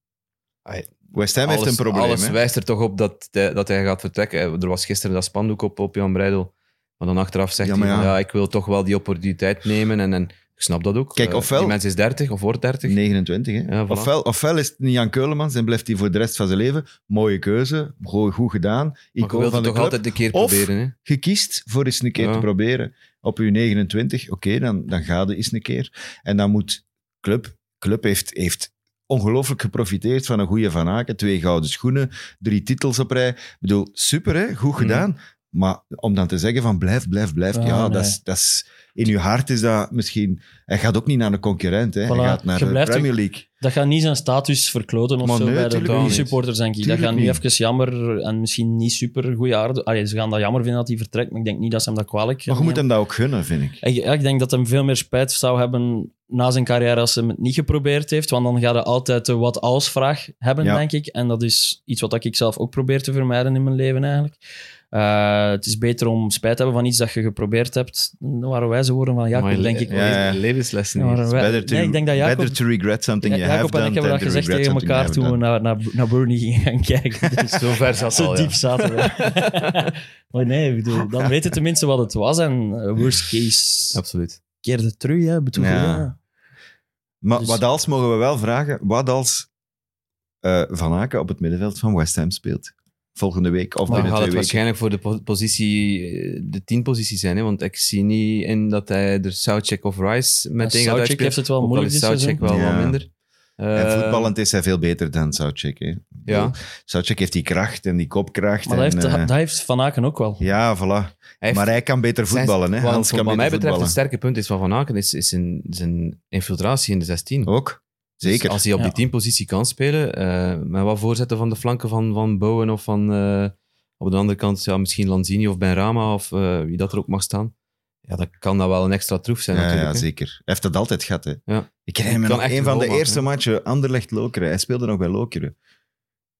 West Ham heeft Alles- een probleem. Alles hè? wijst er toch op dat, hij- dat hij gaat vertrekken. Eh, Er was gisteren dat spandoek op, op Jan Breidel. Maar dan achteraf zegt Ja, hij, maar van, ja. ja. ik wil toch wel die opportuniteit nemen. En, en ik snap dat ook. Kijk, Eh, ofwel- Die mens is 30 of wordt 30. 29, hè? Ja, voilà. ofwel, ofwel is het niet Jan Keulemans en blijft hij voor de rest van zijn leven. Mooie keuze, goed, goed gedaan. maar je Icoon wilt van het de toch club. altijd een keer Of- proberen. Hè? Je kiest voor eens een keer Ja. te proberen. Op je 29, oké, dan, dan ga je eens een keer. En dan moet club... Club heeft, heeft ongelooflijk geprofiteerd van een goede Van Aken. Twee gouden schoenen, drie titels op rij. Ik bedoel, super, hè? goed gedaan. Maar om dan te zeggen van blijf, blijf, blijf. Ah, ja, nee. dat is, dat is... In je hart is dat misschien... Hij gaat ook niet naar een concurrent, hè. hij Voilà, gaat naar je de blijft Premier League. Dat gaat niet zijn status verkloten of Maar zo nee, bij de tuurlijk niet. supporters, denk ik. Dat Tuurlijk gaat nu niet. even jammer en misschien niet super goede aarde. Allee, ze gaan dat jammer vinden dat hij vertrekt, maar ik denk niet dat ze hem dat kwalijk Maar je gaan moet hem dat ook gunnen, vind ik. Ik, ja, ik denk dat hem veel meer spijt zou hebben na zijn carrière als hij het niet geprobeerd heeft. Want dan gaat hij altijd de wat-als-vraag hebben, Ja. denk ik. En dat is iets wat ik zelf ook probeer te vermijden in mijn leven eigenlijk. Eh, het is beter om spijt te hebben van iets dat je geprobeerd hebt. Dan waren wij zo woorden van Jacob, Mooie le- denk ik. Ja, ja. eh, Levenslessen Dan hier. waren wij- Better to, nee, ik denk dat Jacob... better to regret something you have Jacob en done ik hebben dat than to gezegd regret tegen something you elkaar haven't toen we done. naar, naar, naar Burnley gingen gaan kijken. Dus Zo ver zat zo al, diep ja. zaten we. maar nee, ik bedoel, dan weten tenminste wat het was. En eh, worst case, Absoluut. keerde terug. Hè, bedoel, Ja. ja. Maar Dus- wat als mogen we wel vragen? Wat als eh, Van Aken op het middenveld van West Ham speelt? Volgende week of Maar dan binnen gaat twee het weken? waarschijnlijk voor de po- positie, eh, de tien positie zijn. Hè? Want ik zie niet in dat hij er Southcheck of Rice meteen gaat Southcheck uitspelen. heeft het wel Ook al moeilijk is dit Southcheck wel seizoen. wat Ja. minder. En Eh, voetballend is hij veel beter dan Southcheck. hè. Ja. Southcheck heeft die kracht en die kopkracht. Maar dat en, heeft, eh, dat heeft Van Aken ook wel. ja, voilà. Hij heeft- maar hij kan beter voetballen. Hè. Wat- Hans wat kan beter mij betreft voetballen. het sterke punt is van Van Aken is, is zijn, zijn infiltratie in de 16. Ook, Dus Oh, zeker. als hij op die Ja. teampositie kan spelen, eh met wat voorzetten van de flanken van, van Bowen of van... eh, op de andere kant ja, misschien Lanzini of Benrama of eh, wie dat er ook mag staan. Ja, dan kan dat wel een extra troef zijn ja, natuurlijk. ja, hè. zeker. Hij heeft dat altijd gehad. Hè. Ja. Ik herinner me Kan nog echt een van de goal maken, eerste hè. matchen, Anderlecht-Lokeren. Hij speelde nog bij Lokeren.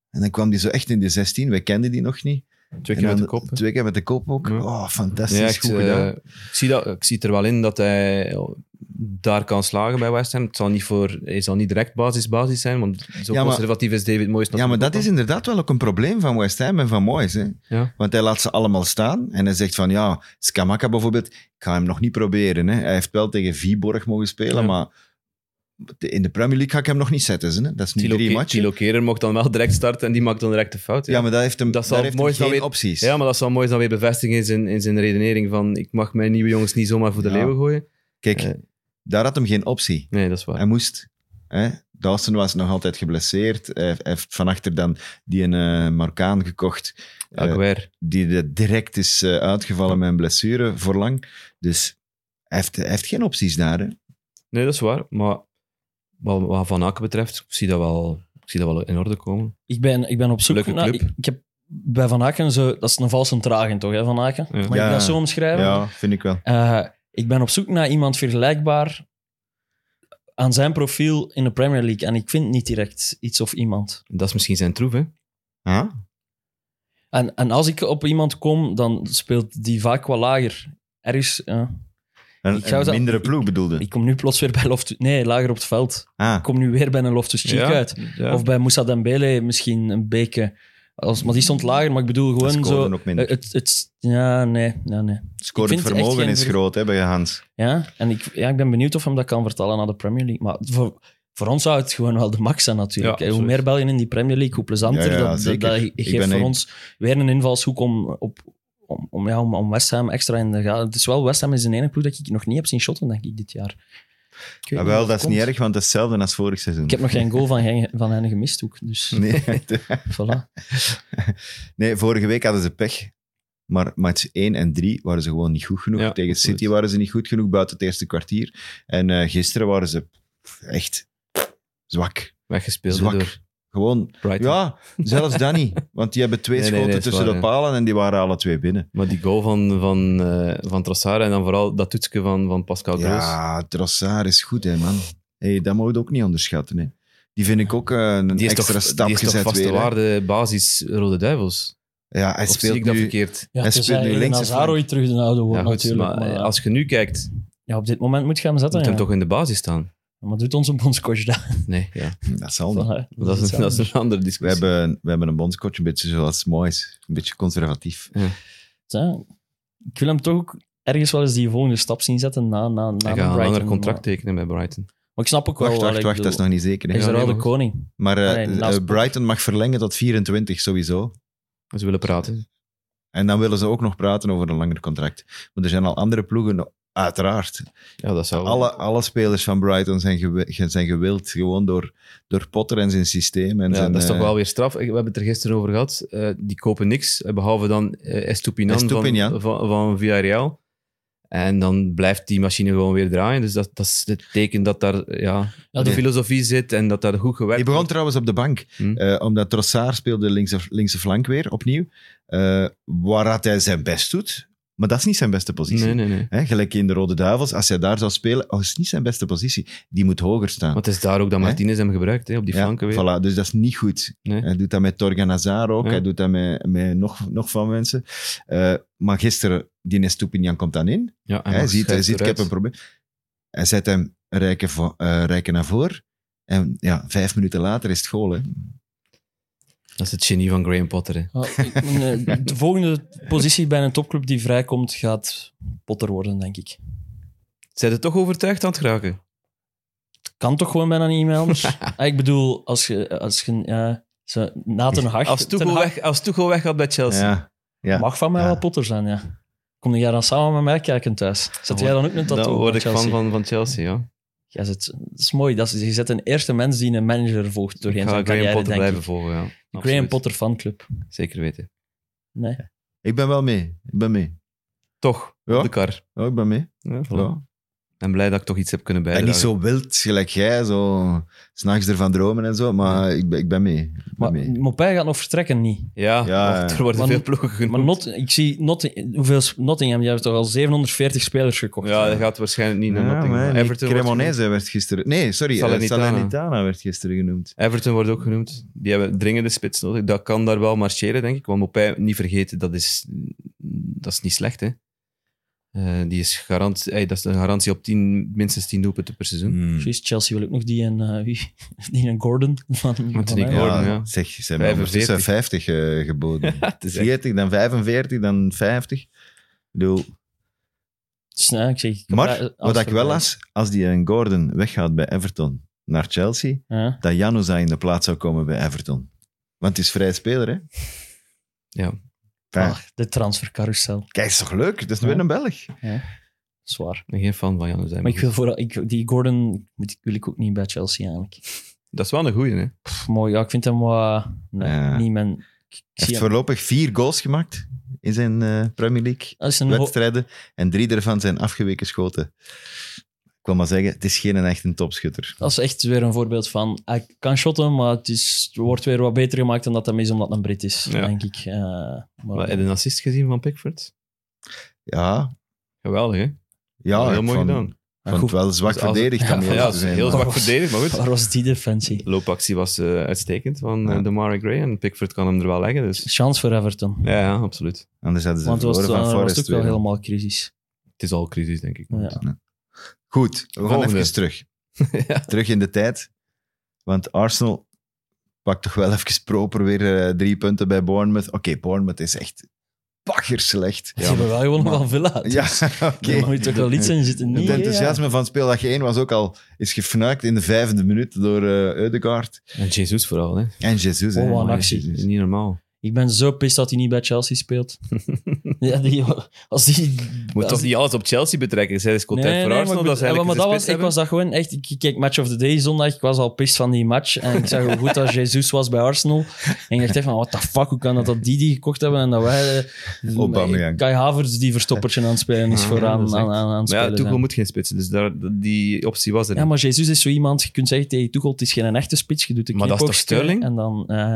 En dan kwam hij zo echt in de 16. We kenden die nog niet. Twee En keer met de dan kop. hè. Twee keer met de kop ook. Ja. Oh, fantastisch. Ja, echt, goed eh, gedaan. ik, zie dat, ik zie het er wel in dat hij daar kan slagen bij West Ham. Het zal niet, voor, hij zal niet direct basis-basis zijn, want zo Ja, maar- conservatief is David Moyes ja, maar natuurlijk dat ook is inderdaad wel ook een probleem van West Ham en van Moyes. Hè? Ja. Want hij laat ze allemaal staan en hij zegt van ja, Skamaka bijvoorbeeld, ik ga hem nog niet proberen. Hè? Hij heeft wel tegen Viborg mogen spelen, Ja. maar in de Premier League ga ik hem nog niet zetten. Hè? Dat is nu Tilo drie Ke- matchen. Tilo Kerer mocht dan wel direct starten en die maakt dan direct de fout. Ja, Ja, maar dat heeft hem, Dat zal daar heeft hem Moyes dan geen weer- opties. Ja, maar dat zal mooi dan weer bevestigen in zijn, in zijn redenering van ik mag mijn nieuwe jongens niet zomaar voor de Ja. leeuwen gooien. Kijk, Eh. daar had hem geen optie. Nee, dat is waar. Hij moest. Hè? Dawson was nog altijd geblesseerd. Hij hij heeft van achter dan die een eh, Marokkaan gekocht. Eh, Aguer. die er direct is eh, uitgevallen met een blessure voor lang. Dus hij heeft, hij heeft geen opties daar. Hè? Nee, dat is waar. Maar wat, wat Van Aken betreft, ik zie dat wel, ik zie dat wel in orde komen. Ik ben, ik ben op zoek Leuke naar... club. Ik, ik heb bij Van Aken zo... Dat is een valse tragen, toch, hè, Van Aken? Ja. Mag Ja. ik dat zo omschrijven? Ja, vind ik wel. Eh, ik ben op zoek naar iemand vergelijkbaar aan zijn profiel in de Premier League. En ik vind niet direct iets of iemand. Dat is misschien zijn troef, hè? Ah, En, en als ik op iemand kom, dan speelt die vaak wat lager. Ergens, ja. Een, Ik zou een dat- mindere ploeg bedoelde. Ik kom nu plots weer bij Loftus... Nee, lager op het veld. ah, Ik kom nu weer bij een Loftus-Cheek Ja, uit. ja. Of bij Moussa Dembele misschien een beetje. Als, maar die stond lager, maar ik bedoel dat gewoon scoorde zo... Eh, ook minder. Het, het, ja, nee, nee, nee. Scorend ik vind echt vermogen geen is ver- groot hè, bij Hans. Ja, en ik, ja, ik ben benieuwd of hem dat kan vertalen naar de Premier League. Maar voor, voor ons zou het gewoon wel de max zijn natuurlijk. Ja, hoe absoluut. meer België in die Premier League, hoe plezanter. Ja, ja, dat, dat, zeker. dat Ik ben geeft voor een- ons weer een invalshoek om, op, om, om, ja, om, om West Ham extra in de gaten... Het is wel, West Ham is een ene ploeg dat ik nog niet heb zien shotten, denk ik, dit jaar. Ik Ah, weet niet wel, hoe dat is komt. niet erg, want dat is hetzelfde als vorig seizoen. Ik heb nog geen goal van, hen- van hen gemist ook, dus Nee, voilà. Nee, vorige week hadden ze pech. Maar match 1 en 3 waren ze gewoon niet goed genoeg. Ja, Tegen absoluut. City waren ze niet goed genoeg buiten het eerste kwartier. En eh, gisteren waren ze echt zwak. Weggespeeld Zwak. door Gewoon, Brighton. ja, zelfs dan niet. Want die hebben twee Nee, nee, schoten nee, dat is tussen waar, de ja. palen en die waren alle twee binnen. Maar die goal van, van, eh, van Trossard en dan vooral Oh, dat toetsje van, van Pascal Groos. Ja, Trossard is goed, hè, man. Hey, dat moet je ook niet onderschatten. Hè. Die vind ik ook eh, een die is extra toch, stap die is toch gezet vaste weer. hè. waarde basis Rode Duivels? Ja, hij of zie speelt ik dat nu... verkeerd? Ja, Hij het is speelt nu eigenlijk links of Nazaroy terug de oude Ja, woord goed, natuurlijk. maar, maar, eh, als je nu kijkt, ja, op dit moment moet je hem zetten. moet hem Ja. toch in de basis staan? Maar doet onze bondscoach dat? Nee, ja. Dat zal niet. Dat is dat, is iets een, dat anders. is een andere We discussie. hebben, we hebben een bondscoach, een beetje zoals Moyes. Een beetje conservatief. Ja, ik wil hem toch ook ergens wel eens die volgende stap zien zetten na, na, na Hij gaat een Brighton, ander Maar, contract tekenen bij Brighton. maar ik snap ook Wacht, wel... wacht, allee, ik wacht, dat is nog niet zeker. hè. bedoel, Hij is Ja, er nee, wel de maar koning. Maar eh, Allee, naast eh, Pogba. Brighton mag verlengen tot 24 sowieso. Ze willen praten. En dan willen ze ook nog praten over een langer contract. Want er zijn al andere ploegen, uiteraard. Ja, dat zou... Alle, alle spelers van Brighton zijn, gewi- ge- zijn gewild, gewoon door, door Potter en zijn systeem. En ja, zijn, dat is toch eh, wel weer straf. Ik- We hebben het er gisteren over gehad. Eh, die kopen niks, eh, behalve dan eh, Estupinan, Estupiñán. Van, van, van Villarreal. En dan blijft die machine gewoon weer draaien. Dus dat, dat is het teken dat daar ja, Ja, de die- filosofie zit en dat daar goed gewerkt Die begon trouwens op de bank, Hm. eh, omdat Trossard speelde linkse, linkse flank weer, opnieuw. eh, waar dat hij zijn best doet, maar dat is niet zijn beste wordt. positie. Nee, nee, nee. Hè, gelijk in de Rode Duivels, als hij daar zou spelen, oh, is niet zijn beste positie. Die moet hoger staan. Want het is daar ook dat Hè? Martinez hem gebruikt, hè, op die flanken weer. Voilà, dus dat is niet goed. Nee. Hij doet dat met Torganazar ook. Ja. Hij doet dat met, met nog, nog van mensen. Eh, maar gisteren, die Stupinian komt dan in. Ja, en Hij Max ziet, hij schuift ziet ik heb een eruit. probleem. Hij zet hem rijken, vo- eh, rijken naar voren. En ja, vijf minuten later is het goal. Hè. Dat is het genie van Graham Potter. hè. Ja, ik- nee, de volgende positie bij een topclub die vrijkomt, gaat Potter worden, denk ik. Zijn ze toch overtuigd aan het geraken? Kan toch gewoon bijna niet meer anders? Ah, ik bedoel, als je... eh, Als je ja, ze, na Ten Hag... Als Ten Tuchel, Hag weg, als Tuchel weg had bij Chelsea. Ja. ja. mag van mij Ja. wel Potter zijn, ja. Kom jij dan samen met mij kijken thuis? Zet jij dan ook een tattoo Dan op word ik Chelsea? fan van, van Chelsea, ja. Ja, dat is- dat is mooi. Dat is, je zet een eerste mens die een manager volgt Ik doorheen ga zijn carrière, Graham Potter denk blijven ik. volgen, ja. De Graham Absoluut. Potter fanclub. Zeker weten. Nee. Ik ben wel mee. Ik ben mee. Toch, Ja, op de kar. Ja, ik ben mee. Ja, voilà. Ja. En blij dat ik toch iets heb kunnen En bijdragen. niet zo wild, gelijk jij, zo s'nachts ervan dromen en zo. Maar ik, ben, ik ben mee. Ik ben Maar mee. Mopé gaat nog vertrekken, niet. Ja, Ja, want ja. er worden Maar- veel ploegen genoemd. Maar Not, ik zie Not, hoeveel, Nottingham, die hebben toch al 740 spelers gekocht. ja, dat gaat waarschijnlijk niet naar Ja, Nottingham. maar, Maar nee, Everton, wordt genoemd. Cremonese werd gisteren... Nee, sorry, eh, Salernitana. Salernitana. werd gisteren genoemd. Everton wordt ook genoemd. Die hebben dringende spits nodig. Dat kan daar wel marcheren, denk ik. Want Mopé, niet vergeten, dat is, dat is niet slecht, hè. Eh, die is garant, hey, dat is een garantie op 10, minstens 10 doelpunten per Mm. seizoen. Juist, Hm. Chelsea wil ook nog die en, eh, wie? Die en Gordon. Van, van die mij. Gordon. Ja, ja. zeg, ze hebben ondertussen 50 eh, geboden. Het is echt- 40, dan 45, dan 50. Ik bedoel, Dus, nou, ik zeg, maar, eh, wat ik wel Amsterdam. las, als die een Gordon weggaat bij Everton naar Chelsea, Ja. dat Januza in de plaats zou komen bij Everton. Want het is vrij speler, hè? Ja. Enfin, Ach, de transfercarousel. Kijk, is toch leuk? Dat is Ja. weer een Belg. Zwaar. Ik ben geen fan van Janus. Maar ik wil vooral, ik, die Gordon moet- wil ik ook niet bij Chelsea eigenlijk. Dat is wel een goeie, hè? Pff, mooi, ja, ik vind hem wat. Nee, Ja. niet mijn. Ik, ik Hij zie heeft hem- voorlopig vier goals gemaakt in zijn eh, Premier League dat is een ho- wedstrijden. En drie daarvan zijn afgeweken schoten. Ik wil maar zeggen, het is geen echt een topschutter. Dat is echt weer een voorbeeld van. Hij kan shotten, maar het, is, het wordt weer wat beter gemaakt dan dat hem is omdat hij een Brit is, Ja. denk ik. Eh, maar, Maar heb je een assist gezien van Pickford? Ja, Geweldig, hè? ja heel ik mooi vond- gedaan. vond het wel zwak Dus als- verdedigd om Ja, eerlijk ja, te ze zijn. heel maar- zwak verdedigd, maar goed. Waar was die defensie? Loopactie was eh, uitstekend van Ja. eh, Damari Gray en Pickford kan hem er wel leggen. Dus. Chance voor Everton. Ja, ja, absoluut. Anders hadden ze Want het was, eh, verloren van was Forest. ook wel weer. helemaal crisis. Het is al crisis, denk ik. Ja. Goed, we gaan Volgende. even terug. Terug in de tijd. Want Arsenal pakt toch wel even proper weer eh, drie punten bij Bournemouth. Oké, Bournemouth is echt baggerslecht. Ze hebben wel gewonnen maar- van Villa. dus Ja, oké. Daar moet je toch wel iets in zitten. Nee, Het enthousiasme van speeldag 1 was ook al is gefnuikt in de vijfde minuut door eh Eudegaard En Jesus vooral, hè. en Jesus. hè. Oh, wat een Amai, actie. Jesus. Niet normaal. Ik ben zo pist dat hij niet bij Chelsea speelt. ja, die, als die... Moet als toch die- niet alles op Chelsea betrekken? Zij is content Nee, voor nee, Arsenal, maar, dat ik, ze bedoel- eigenlijk maar dat een was, spits ik was dat gewoon echt... Ik ik keek Match of the Day zondag, ik was al pist van die match. En ik zag hoe goed dat Jesus was bij Arsenal. En ik dacht echt van, what the fuck, hoe kan dat dat die die gekocht hebben en dat wij... eh, Aubameyang. Kai Havertz die verstoppertje aan het spelen is Ja, vooraan dat is echt- aan, aan, aan het hebben. Maar spelen ja, Tuchel zijn. moet geen spitsen, dus daar, die optie was er Ja, niet. maar Jesus is zo iemand, je kunt zeggen tegen Tuchel, het is geen echte spits, je doet de Maar dat is toch knipoogsteun Sterling? En dan... eh,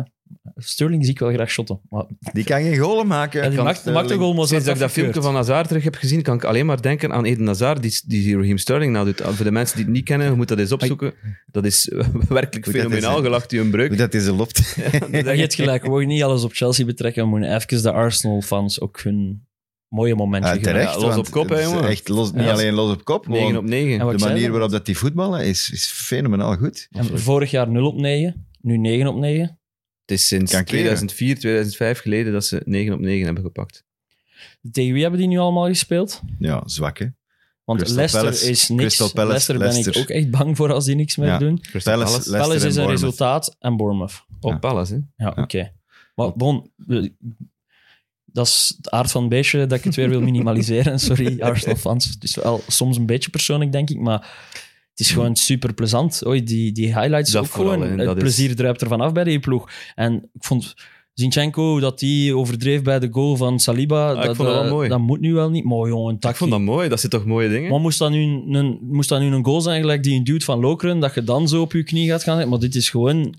Sterling zie ik wel graag shotten. Maar Die kan geen goal maken. ja, die Kan maakt, Sterling. maakt een goal, maar Sinds dat werd ik dat filmpje afgekeurd. van Hazard terug heb gezien, kan ik alleen maar denken aan Eden Hazard, die, die Raheem Sterling nou doet. Voor de mensen die het niet kennen, je moet dat eens opzoeken. Dat is eh, werkelijk Hoe dat fenomenaal, is, hè. gelacht u een breuk. Hoe dat is Ah, loopt. Maar Je hebt gelijk, we mogen niet alles op Chelsea betrekken. We moeten even de Arsenal-fans ook hun mooie momentje Ja, geven. terecht. los op want kop, hè, het is jongen. Echt los, niet Ja. alleen los op kop. 9 gewoon op 9. En wat de ik zei, manier dan- waarop dat die voetballen is, is fenomenaal goed. En vorig jaar 0 op 9, nu 9 op 9. Het is sinds Kan keren. 2004, 2005 geleden dat ze 9 op 9 hebben gepakt. Tegen wie hebben die nu allemaal gespeeld? Ja, zwak hè. Want Crystal Leicester Palace. is niks. Crystal Palace, Leicester ben Leicester. ik ook echt bang voor als die niks meer Ja. doen. Crystal Palace, Palace. Leicester Palace en is een Bournemouth. resultaat en Bournemouth. Op Palace, hè? Ja, Ja. oké. Maar bon, we- dat is de aard van het beestje dat ik het weer wil minimaliseren. Sorry, Arsenal-fans. Het is wel soms een beetje persoonlijk, denk ik, maar het is gewoon super plezant. Oei, die, die highlights Dat ook vooral, gewoon. hè, het dat is- plezier druipt ervan af bij die ploeg. En ik vond Zinchenko dat die overdreef bij de goal van Saliba. Ah, ik vond dat wel mooi. Dat moet nu wel niet. Mooi, jongen. Ik vond dat mooi, dat zijn toch mooie dingen? Maar moest dat, nu een- een, moest dat nu een goal zijn, gelijk die een duwt van Lokeren, dat je dan zo op je knie gaat gaan? Maar dit is gewoon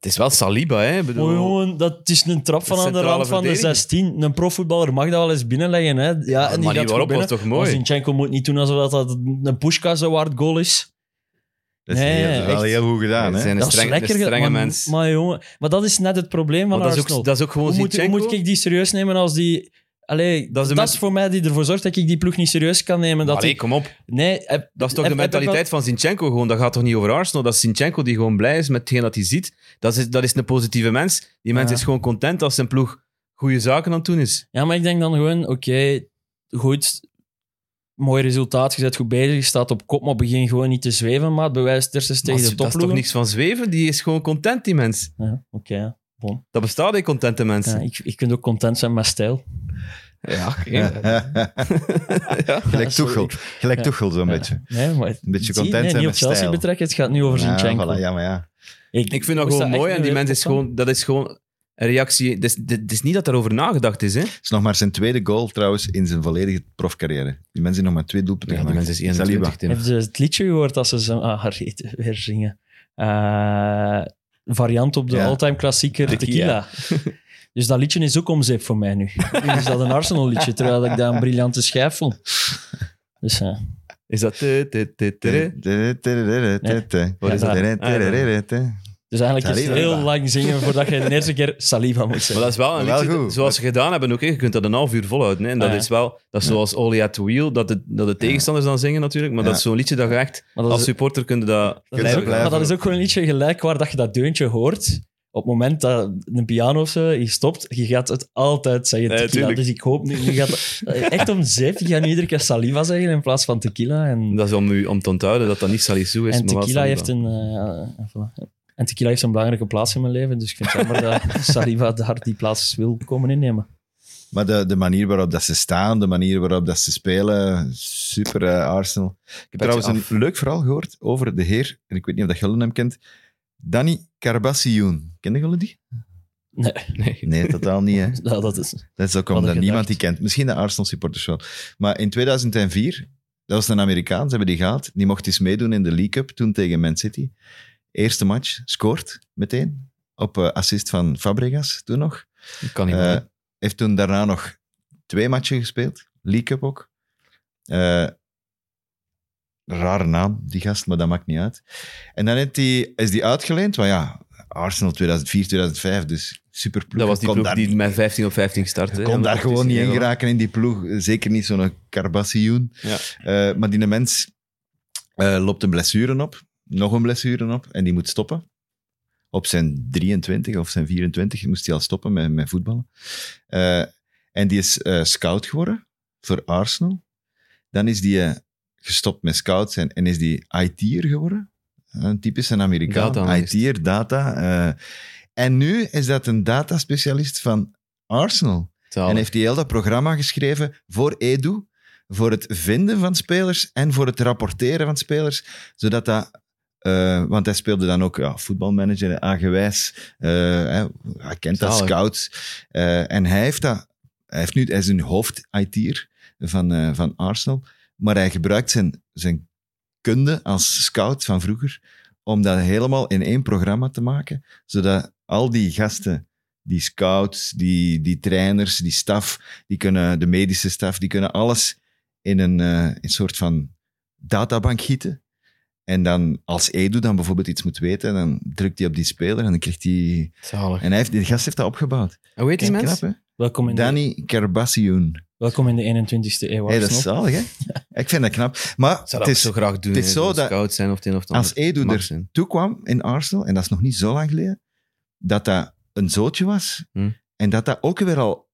Het is wel Saliba, hè? Ik bedoel, Oh, jongen, dat is een trap van De aan de centrale rand van de verdediger. 16. Een profvoetballer mag dat wel eens binnenleggen. Hè? Ja, en de die manier gaat waarop goed was binnen. toch mooi? Maar Zinchenko moet niet doen alsof dat een Pushka zo waard goal is. Dat is Nee, heel- dat is wel echt. heel goed gedaan. Ze Hè? zijn een dat streng, is lekker. een ge- strenge maar, mens. Maar, jongen, maar dat is net het probleem van Maar dat, is Arsenal. ook, dat is ook gewoon hoe, moet, hoe Zinchenko. moet ik die serieus nemen als die... Allee, Dat dat is is, de mens- voor mij die ervoor zorgt dat ik die ploeg niet serieus kan nemen. Dat Allee, ik, kom op. nee, heb- Dat is toch de heb- heb ik mentaliteit van Zinchenko gewoon. Dat gaat toch niet over Arsenal? Dat is Zinchenko die gewoon blij is met hetgeen dat hij ziet. Dat is, dat is een positieve mens. Die mens Ja. is gewoon content als zijn ploeg goede zaken aan het doen is. Ja, maar ik denk dan gewoon, oké, goed, mooi resultaat, je bent goed bezig, je staat op kop, maar begin gewoon niet te zweven, maat. Bewijs terstens Maar tegen de dat is toch topploegen. niks van zweven? Die is gewoon content, die mens. Ja, oké. ja. Dat bestaat in contente Ja, mensen. ik, ik kunt ook content zijn met stijl. Ja, oké. Gelijk zo, Tuchel. Gelijk ja. Tuchel zo'n Ja. beetje. Nee, maar Een beetje zie, nee, content zijn niet met op Chelsea stijl. betrekken, het gaat nu over zijn ja, Zinchenko. voilà, ja, maar ja. Ik vind dat moest gewoon echt mooi niet en weer die mens is opkomen. gewoon, dat is gewoon een reactie. Het is, dit- het is niet dat daarover nagedacht is, hè? Het is nog maar zijn tweede goal trouwens in zijn volledige profcarrière. Die mensen nog maar twee doelpunten die gemaakt. mens is Saliba. 21, Tim. Heb je het liedje gehoord dat ze zijn, ah, haar eten weer zingen? Eh, variant op de Ja. all-time klassieker Tequila. dus dat liedje is ook om zeep voor mij nu. Nu is dat een Arsenal liedje, terwijl ik dat een briljante schijf vond. Dus eh, Is dat... te- te- te- te- Ja, daar. Dus eigenlijk is het Saliba. heel lang zingen voordat je de eerste keer saliva moet Maar zeggen. dat is wel een Wel liedje, goed. zoals ze gedaan hebben ook. hè. Je kunt dat een half uur volhouden. Hè. En dat Ah, Ja. is wel, dat is zoals Only at the Wheel, dat de, dat de tegenstanders dan zingen natuurlijk. Maar Ja. dat is zo'n liedje dat je echt, Maar dat als is, supporter kun je dat... dat is ook, blijven. maar dat is ook gewoon een liedje gelijk waar dat je dat deuntje hoort. Op het moment dat een piano of zo je stopt, je gaat het altijd zeggen Ja, tequila. tuurlijk. dus ik hoop nu, nu gaat echt om zeep, je gaat nu iedere keer saliva zeggen in plaats van tequila. En, Dat is om, u, om te onthouden dat dat niet Salisu is, en maar wel tequila Saliba. heeft een... eh, voilà. En tequila heeft een belangrijke plaats in mijn leven, dus ik vind het jammer dat saliva daar die plaats wil komen innemen. Maar de, de manier waarop dat ze staan, de manier waarop dat ze spelen, super eh, Arsenal. Ik heb trouwens af. een leuk verhaal gehoord over de heer, en ik weet niet of dat Gullen hem kent, Danny Carbassioen. Kende Gullen die? Nee. Nee. Nee, totaal niet. Hè. Nou, dat is... Dat is ook Had ik omdat niemand gedacht. die kent. Misschien de Arsenal supporters wel. Maar in 2004, dat was een Amerikaan, ze hebben die gehad. Die mocht eens meedoen in de League Cup, toen tegen Man City. Eerste match, scoort meteen. Op eh, assist van Fabregas, toen nog. Dat kan niet Eh, meer. heeft toen daarna nog twee matchen gespeeld. League Cup ook. Eh, Rare naam, die gast, maar dat maakt niet uit. En dan heeft die, is die uitgeleend, want ja, Arsenal 2004, 2005, dus superploeg. Dat was die Kon ploeg daar die met 15 op 15 startte. Je hè. kon Dat daar is gewoon niet in helemaal- geraken in die ploeg. Zeker niet zo'n Carbassioen. Ja. Eh, maar die mens eh, loopt een blessure op. Nog een blessure op. En die moet stoppen. Op zijn 23 of zijn 24 moest hij al stoppen met, met voetballen. Eh, en die is eh, scout geworden voor Arsenal. Dan is die eh, gestopt met scout zijn en is die IT'er geworden. Eh, Een typische Amerikaan. Data-analyst. IT'er, data. eh. en nu is dat een data-specialist van Arsenal. Zalig. En heeft hij heel dat programma geschreven voor Edu, voor het vinden van spelers en voor het rapporteren van spelers, zodat dat... eh, want hij speelde dan ook ja, voetbalmanager, aangewijs. eh, hè, hij kent dat, Zalig. scouts. Eh, en hij heeft dat... Hij, heeft nu, hij is een hoofd-IT'er van, eh, van Arsenal, maar hij gebruikt zijn, zijn kunde als scout van vroeger om dat helemaal in één programma te maken, zodat al die gasten, die scouts, die, die trainers, die staf, die kunnen, de medische staf, die kunnen alles in een, eh, een soort van databank gieten. En dan, als Edu dan bijvoorbeeld iets moet weten, dan drukt hij op die speler en dan krijgt hij... Zalig. En hij heeft, die gast heeft dat opgebouwd. En hoe heet die Kijk, mens? knap, hè? Welkom in, de, Danny Kerbassioen. welkom in de 21ste eeuw. Hey, dat is Arsenal. zalig, hè? Ik vind dat knap. Maar Ik zou het dat ook is, zo graag doen. het is hè, zo zo'n dat- Scout zijn of het een of het ander. als Edu Mag er zijn. toekwam in Arsenal, en dat is nog niet zo lang geleden, dat dat een zootje was. Hm. En dat dat ook weer al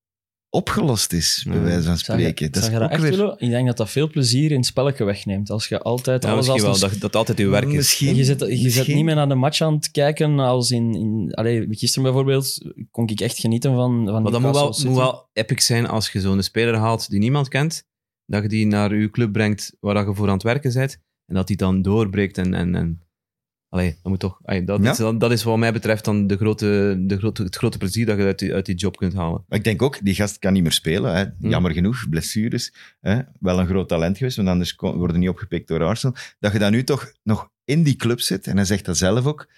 opgelost is, bij Ja. wijze van Zou je- spreken. dat zou is je dat ook echt weer... willen? Ik denk dat dat veel plezier in het spelletje wegneemt. Als je altijd Ja, alles misschien als wel, een dat, dat altijd uw werk is. Misschien. je zit, je zit misschien. niet meer naar de match aan het kijken als in... in allee, gisteren bijvoorbeeld kon ik echt genieten van, van Maar dat moet wel, Newcastle moet City. wel epic zijn als je zo'n speler haalt die niemand kent, dat je die naar uw club brengt waar dat je voor aan het werken bent, en dat die dan doorbreekt en... en, en Allee, dat moet toch... allee, dat, Ja. is, dat, dat is wat mij betreft dan de grote, de grote, het grote plezier dat je uit die, uit die job kunt halen. Maar ik denk ook, die gast kan niet meer spelen. Hè. Jammer genoeg, blessures. Hè. Wel een groot talent geweest, want anders kon- worden niet opgepikt door Arsenal. Dat je dan nu toch nog in die club zit, en hij zegt dat zelf ook.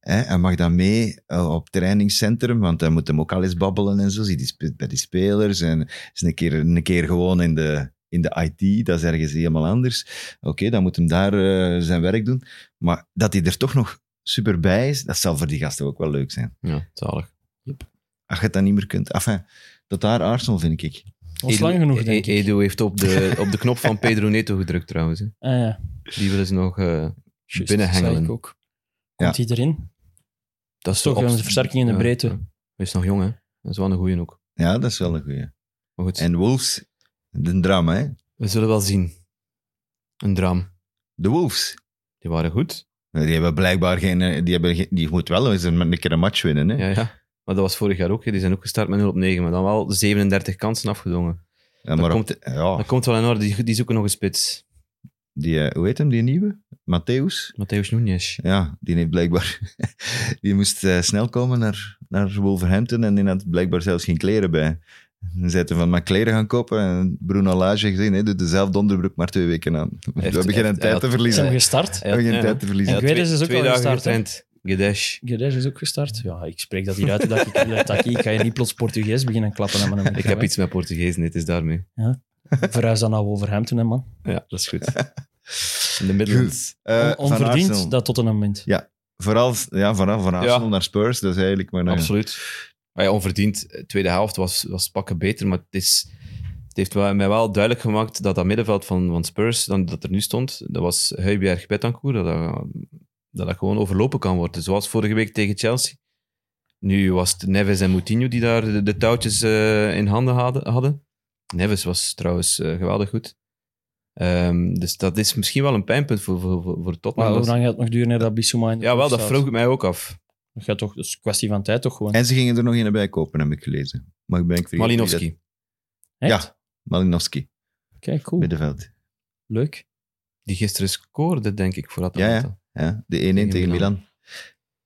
Hè. Hij mag dan mee eh, op trainingscentrum, want hij moet hem ook al eens babbelen en zo. Zit die sp- bij die spelers en is een keer, een keer gewoon in de, in de IT, dat is ergens helemaal anders. Oké, dan moet hem daar eh, zijn werk doen. Maar dat hij er toch nog super bij is, dat zal voor die gasten ook wel leuk zijn Ja, zalig. als je het dan niet meer kunt. Enfin, dat daar Arsenal, vind ik. Dat was lang genoeg, denk ik. Edo heeft op de, op de knop van Pedro Neto gedrukt trouwens. hè. Ah, ja. Die willen ze nog... eh, Juist, Binnenhengelen. dat zei ik ook. Komt hij erin? dat is Toch de op- een versterking in de ja, breedte. ja. Hij is nog jong, hè. Dat is wel een goeie ook. Ja, dat is wel een goeie. Maar goed, En Wolves, de drama, hè? we zullen wel zien. Een draam. De Wolves. Die waren goed. Die hebben blijkbaar geen. eh, Die, hebben, geen- die moet wel eens een, een keer een match winnen. Hè? Ja, ja. Maar dat was vorig jaar ook. hè. Die zijn ook gestart met 0 op 9, maar dan wel 37 kansen afgedwongen. Ja, maar dat op- ja, Dat komt wel in orde. Die, die zoeken nog een spits. die, eh, hoe heet hem, die nieuwe? Matthäus? Matthäus Nunes. Ja, die heeft blijkbaar. die moest eh, snel komen naar, naar Wolverhampton en die had blijkbaar zelfs geen kleren bij. En zeiden van, maar kleren gaan kopen. En Bruno Lage heeft gezegd, nee, doe dezelfde onderbroek maar twee weken aan. We Heeft- hebben geen heeft- hij tijd had- te Is verliezen. hem We gestart? hebben geen tijd te verliezen. Ik weet, twee- is dus ook twee wel dagen gestart, hè. getraind. Gedesh. Gedes is ook gestart. Ja, ik spreek dat hier uit. Dat ik, dat ik, ik ga hier niet plots Portugees beginnen klappen. Aan mijn Ik heb iets met Portugees, nee, het is daarmee. Verhuis dan naar Wolverhampton, hè, man. Ja, dat is goed. In de Midlands. Eh, On- van Arsenal. onverdiend dat tot een moment. Vooral, ja, vooral van Arsenal Ja. naar Spurs, dat is eigenlijk maar... eh, Absoluut. Ah ja, onverdiend. De tweede helft was, was pakken beter, maar het, is, het heeft wel- mij wel duidelijk gemaakt dat dat middenveld van, van Spurs, dan, dat er nu stond, dat was Huibjerg Betancourt, dat, dat dat dat gewoon overlopen kan worden. Zoals vorige week tegen Chelsea. Nu was het Neves en Moutinho die daar de, de touwtjes eh, in handen hadden, hadden. Neves was trouwens eh, geweldig goed. Ehm, dus dat is misschien wel een pijnpunt voor, voor, voor, voor Maar Tottenham. hoe Dat- lang gaat het nog duren naar dat Bissouma in de ja, wel, ploeg dat staat? vroeg ik mij ook af. Dat gaat toch, dat is een kwestie van tijd toch gewoon. En ze gingen er nog een bij kopen, heb ik gelezen. Maar ik ben ik vergeten Malinowski. wie Echt? ja. dat- Malinowski, Oké, cool. middenveld. Leuk. die gisteren scoorde, denk ik, voor Ja, ja. Atalanta. Ja, de 1-1 tegen, Milan. Milan.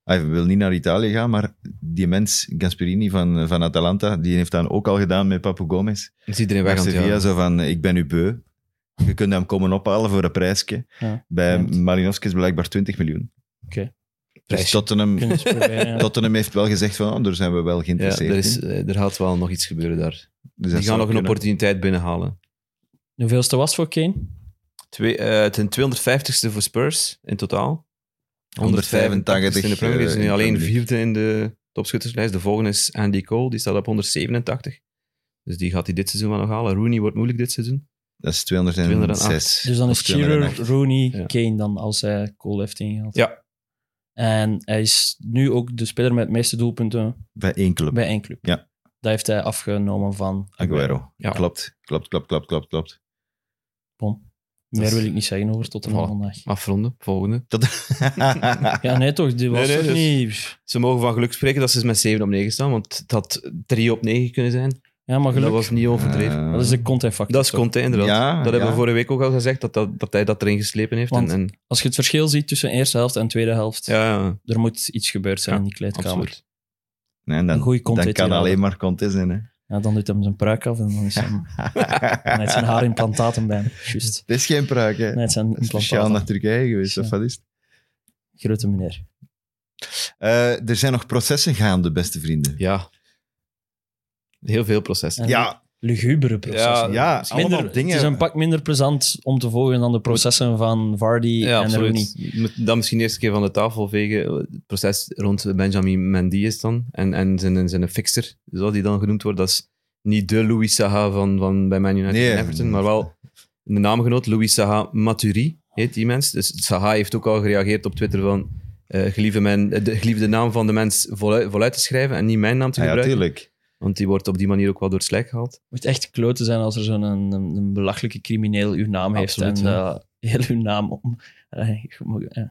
Ah, Hij wil niet naar Italië gaan, maar die mens, Gasperini van, van Atalanta, die heeft dat ook al gedaan met Papu Gomez. Is iedereen weg Bij aan het Sevilla, jagen. zo van, eh, ik ben u beu. Je kunt hem komen ophalen voor een prijsje. Ja, Bij klopt. Malinowski is blijkbaar 20 miljoen. Oké. Dus Prijsje. Tottenham, Kunnen we eens proberen, ja. Tottenham heeft wel gezegd van, oh, daar zijn we wel Ja, geïnteresseerd er, is, in. eh, er gaat wel nog iets gebeuren daar. Dus dat Die zou gaan nog een kunnen. opportuniteit binnenhalen. Hoeveelste was voor Kane? Twee, eh, het is een 250ste voor Spurs in totaal. 185 in de Premier League. Ze zijn eh, in de alleen Premier League. vierde in de topschutterslijst. De volgende is Andy Cole, die staat op 187. Dus die gaat hij dit seizoen wel nog halen. Rooney wordt moeilijk dit seizoen. Dat is 206. 208. Dus dan Of is Shearer, 208. Rooney, Ja. Kane dan als hij Cole heeft ingehaald. Ja. En hij is nu ook de speler met de meeste doelpunten Bij één club. bij één club. Ja. Dat heeft hij afgenomen van Aguero. Aguero. Ja. Klopt, klopt, klopt, klopt, klopt, klopt. Bon. Dat Meer is- wil ik niet zeggen over tot en Voilà. met vandaag. Afronden, volgende. Dat... Ja, nee toch, die was nee, toch dus- niet... Ze mogen van geluk spreken dat ze met 7 op 9 staan, want het had 3 op 9 kunnen zijn. Ja, maar Dat geluk. was niet overdreven. Eh, Dat is de content-factor. dat is toch? Conte, inderdaad. Ja, dat hebben ja. we vorige week ook al gezegd, dat, dat, dat hij dat erin geslepen heeft. Want- en, en, Als je het verschil ziet tussen eerste helft en tweede helft, ja, ja, er moet iets gebeurd zijn Ja, in die kleedkamer. absoluut. Nee, en dan, Een goeie kont dan dit kan hier alleen maar Conte zijn. Hè. Ja, dan doet hij hem zijn pruik af en dan is hem, dan heeft zijn haarimplantaten bij hem. Juist. Het is geen pruik, hè. Nee, het zijn Speciaal naar implantaten. Turkije geweest, Ja. of wat is het? Grote meneer. Eh, er zijn nog processen gaande, beste vrienden. Ja. Heel veel processen. En Ja, Lugubere processen. Ja, ja, minder, allemaal dingen. Eh, Het is een pak minder plezant om te volgen dan de processen van Vardy Ja, en Rooney. absoluut. Je moet dat misschien eerst een keer van de tafel vegen. Het proces rond Benjamin Mendy is dan. En, en zijn, zijn fixer, zoals die dan genoemd wordt. Dat is niet de Louis Saha van, van bij Man United Nee. en Everton, maar wel de naamgenoot Louis Saha Maturi heet die mens. Dus Saha heeft ook al gereageerd op Twitter van eh, gelieve, men, de, gelieve de naam van de mens voluit, voluit te schrijven en niet mijn naam te Ah ja, gebruiken. natuurlijk. want die wordt op die manier ook wel door het slijk gehaald. Het moet echt kloten zijn als er zo'n een, een belachelijke crimineel uw naam heeft Absoluut, en ja. eh, heel uw naam om. Eh, je moet- eh,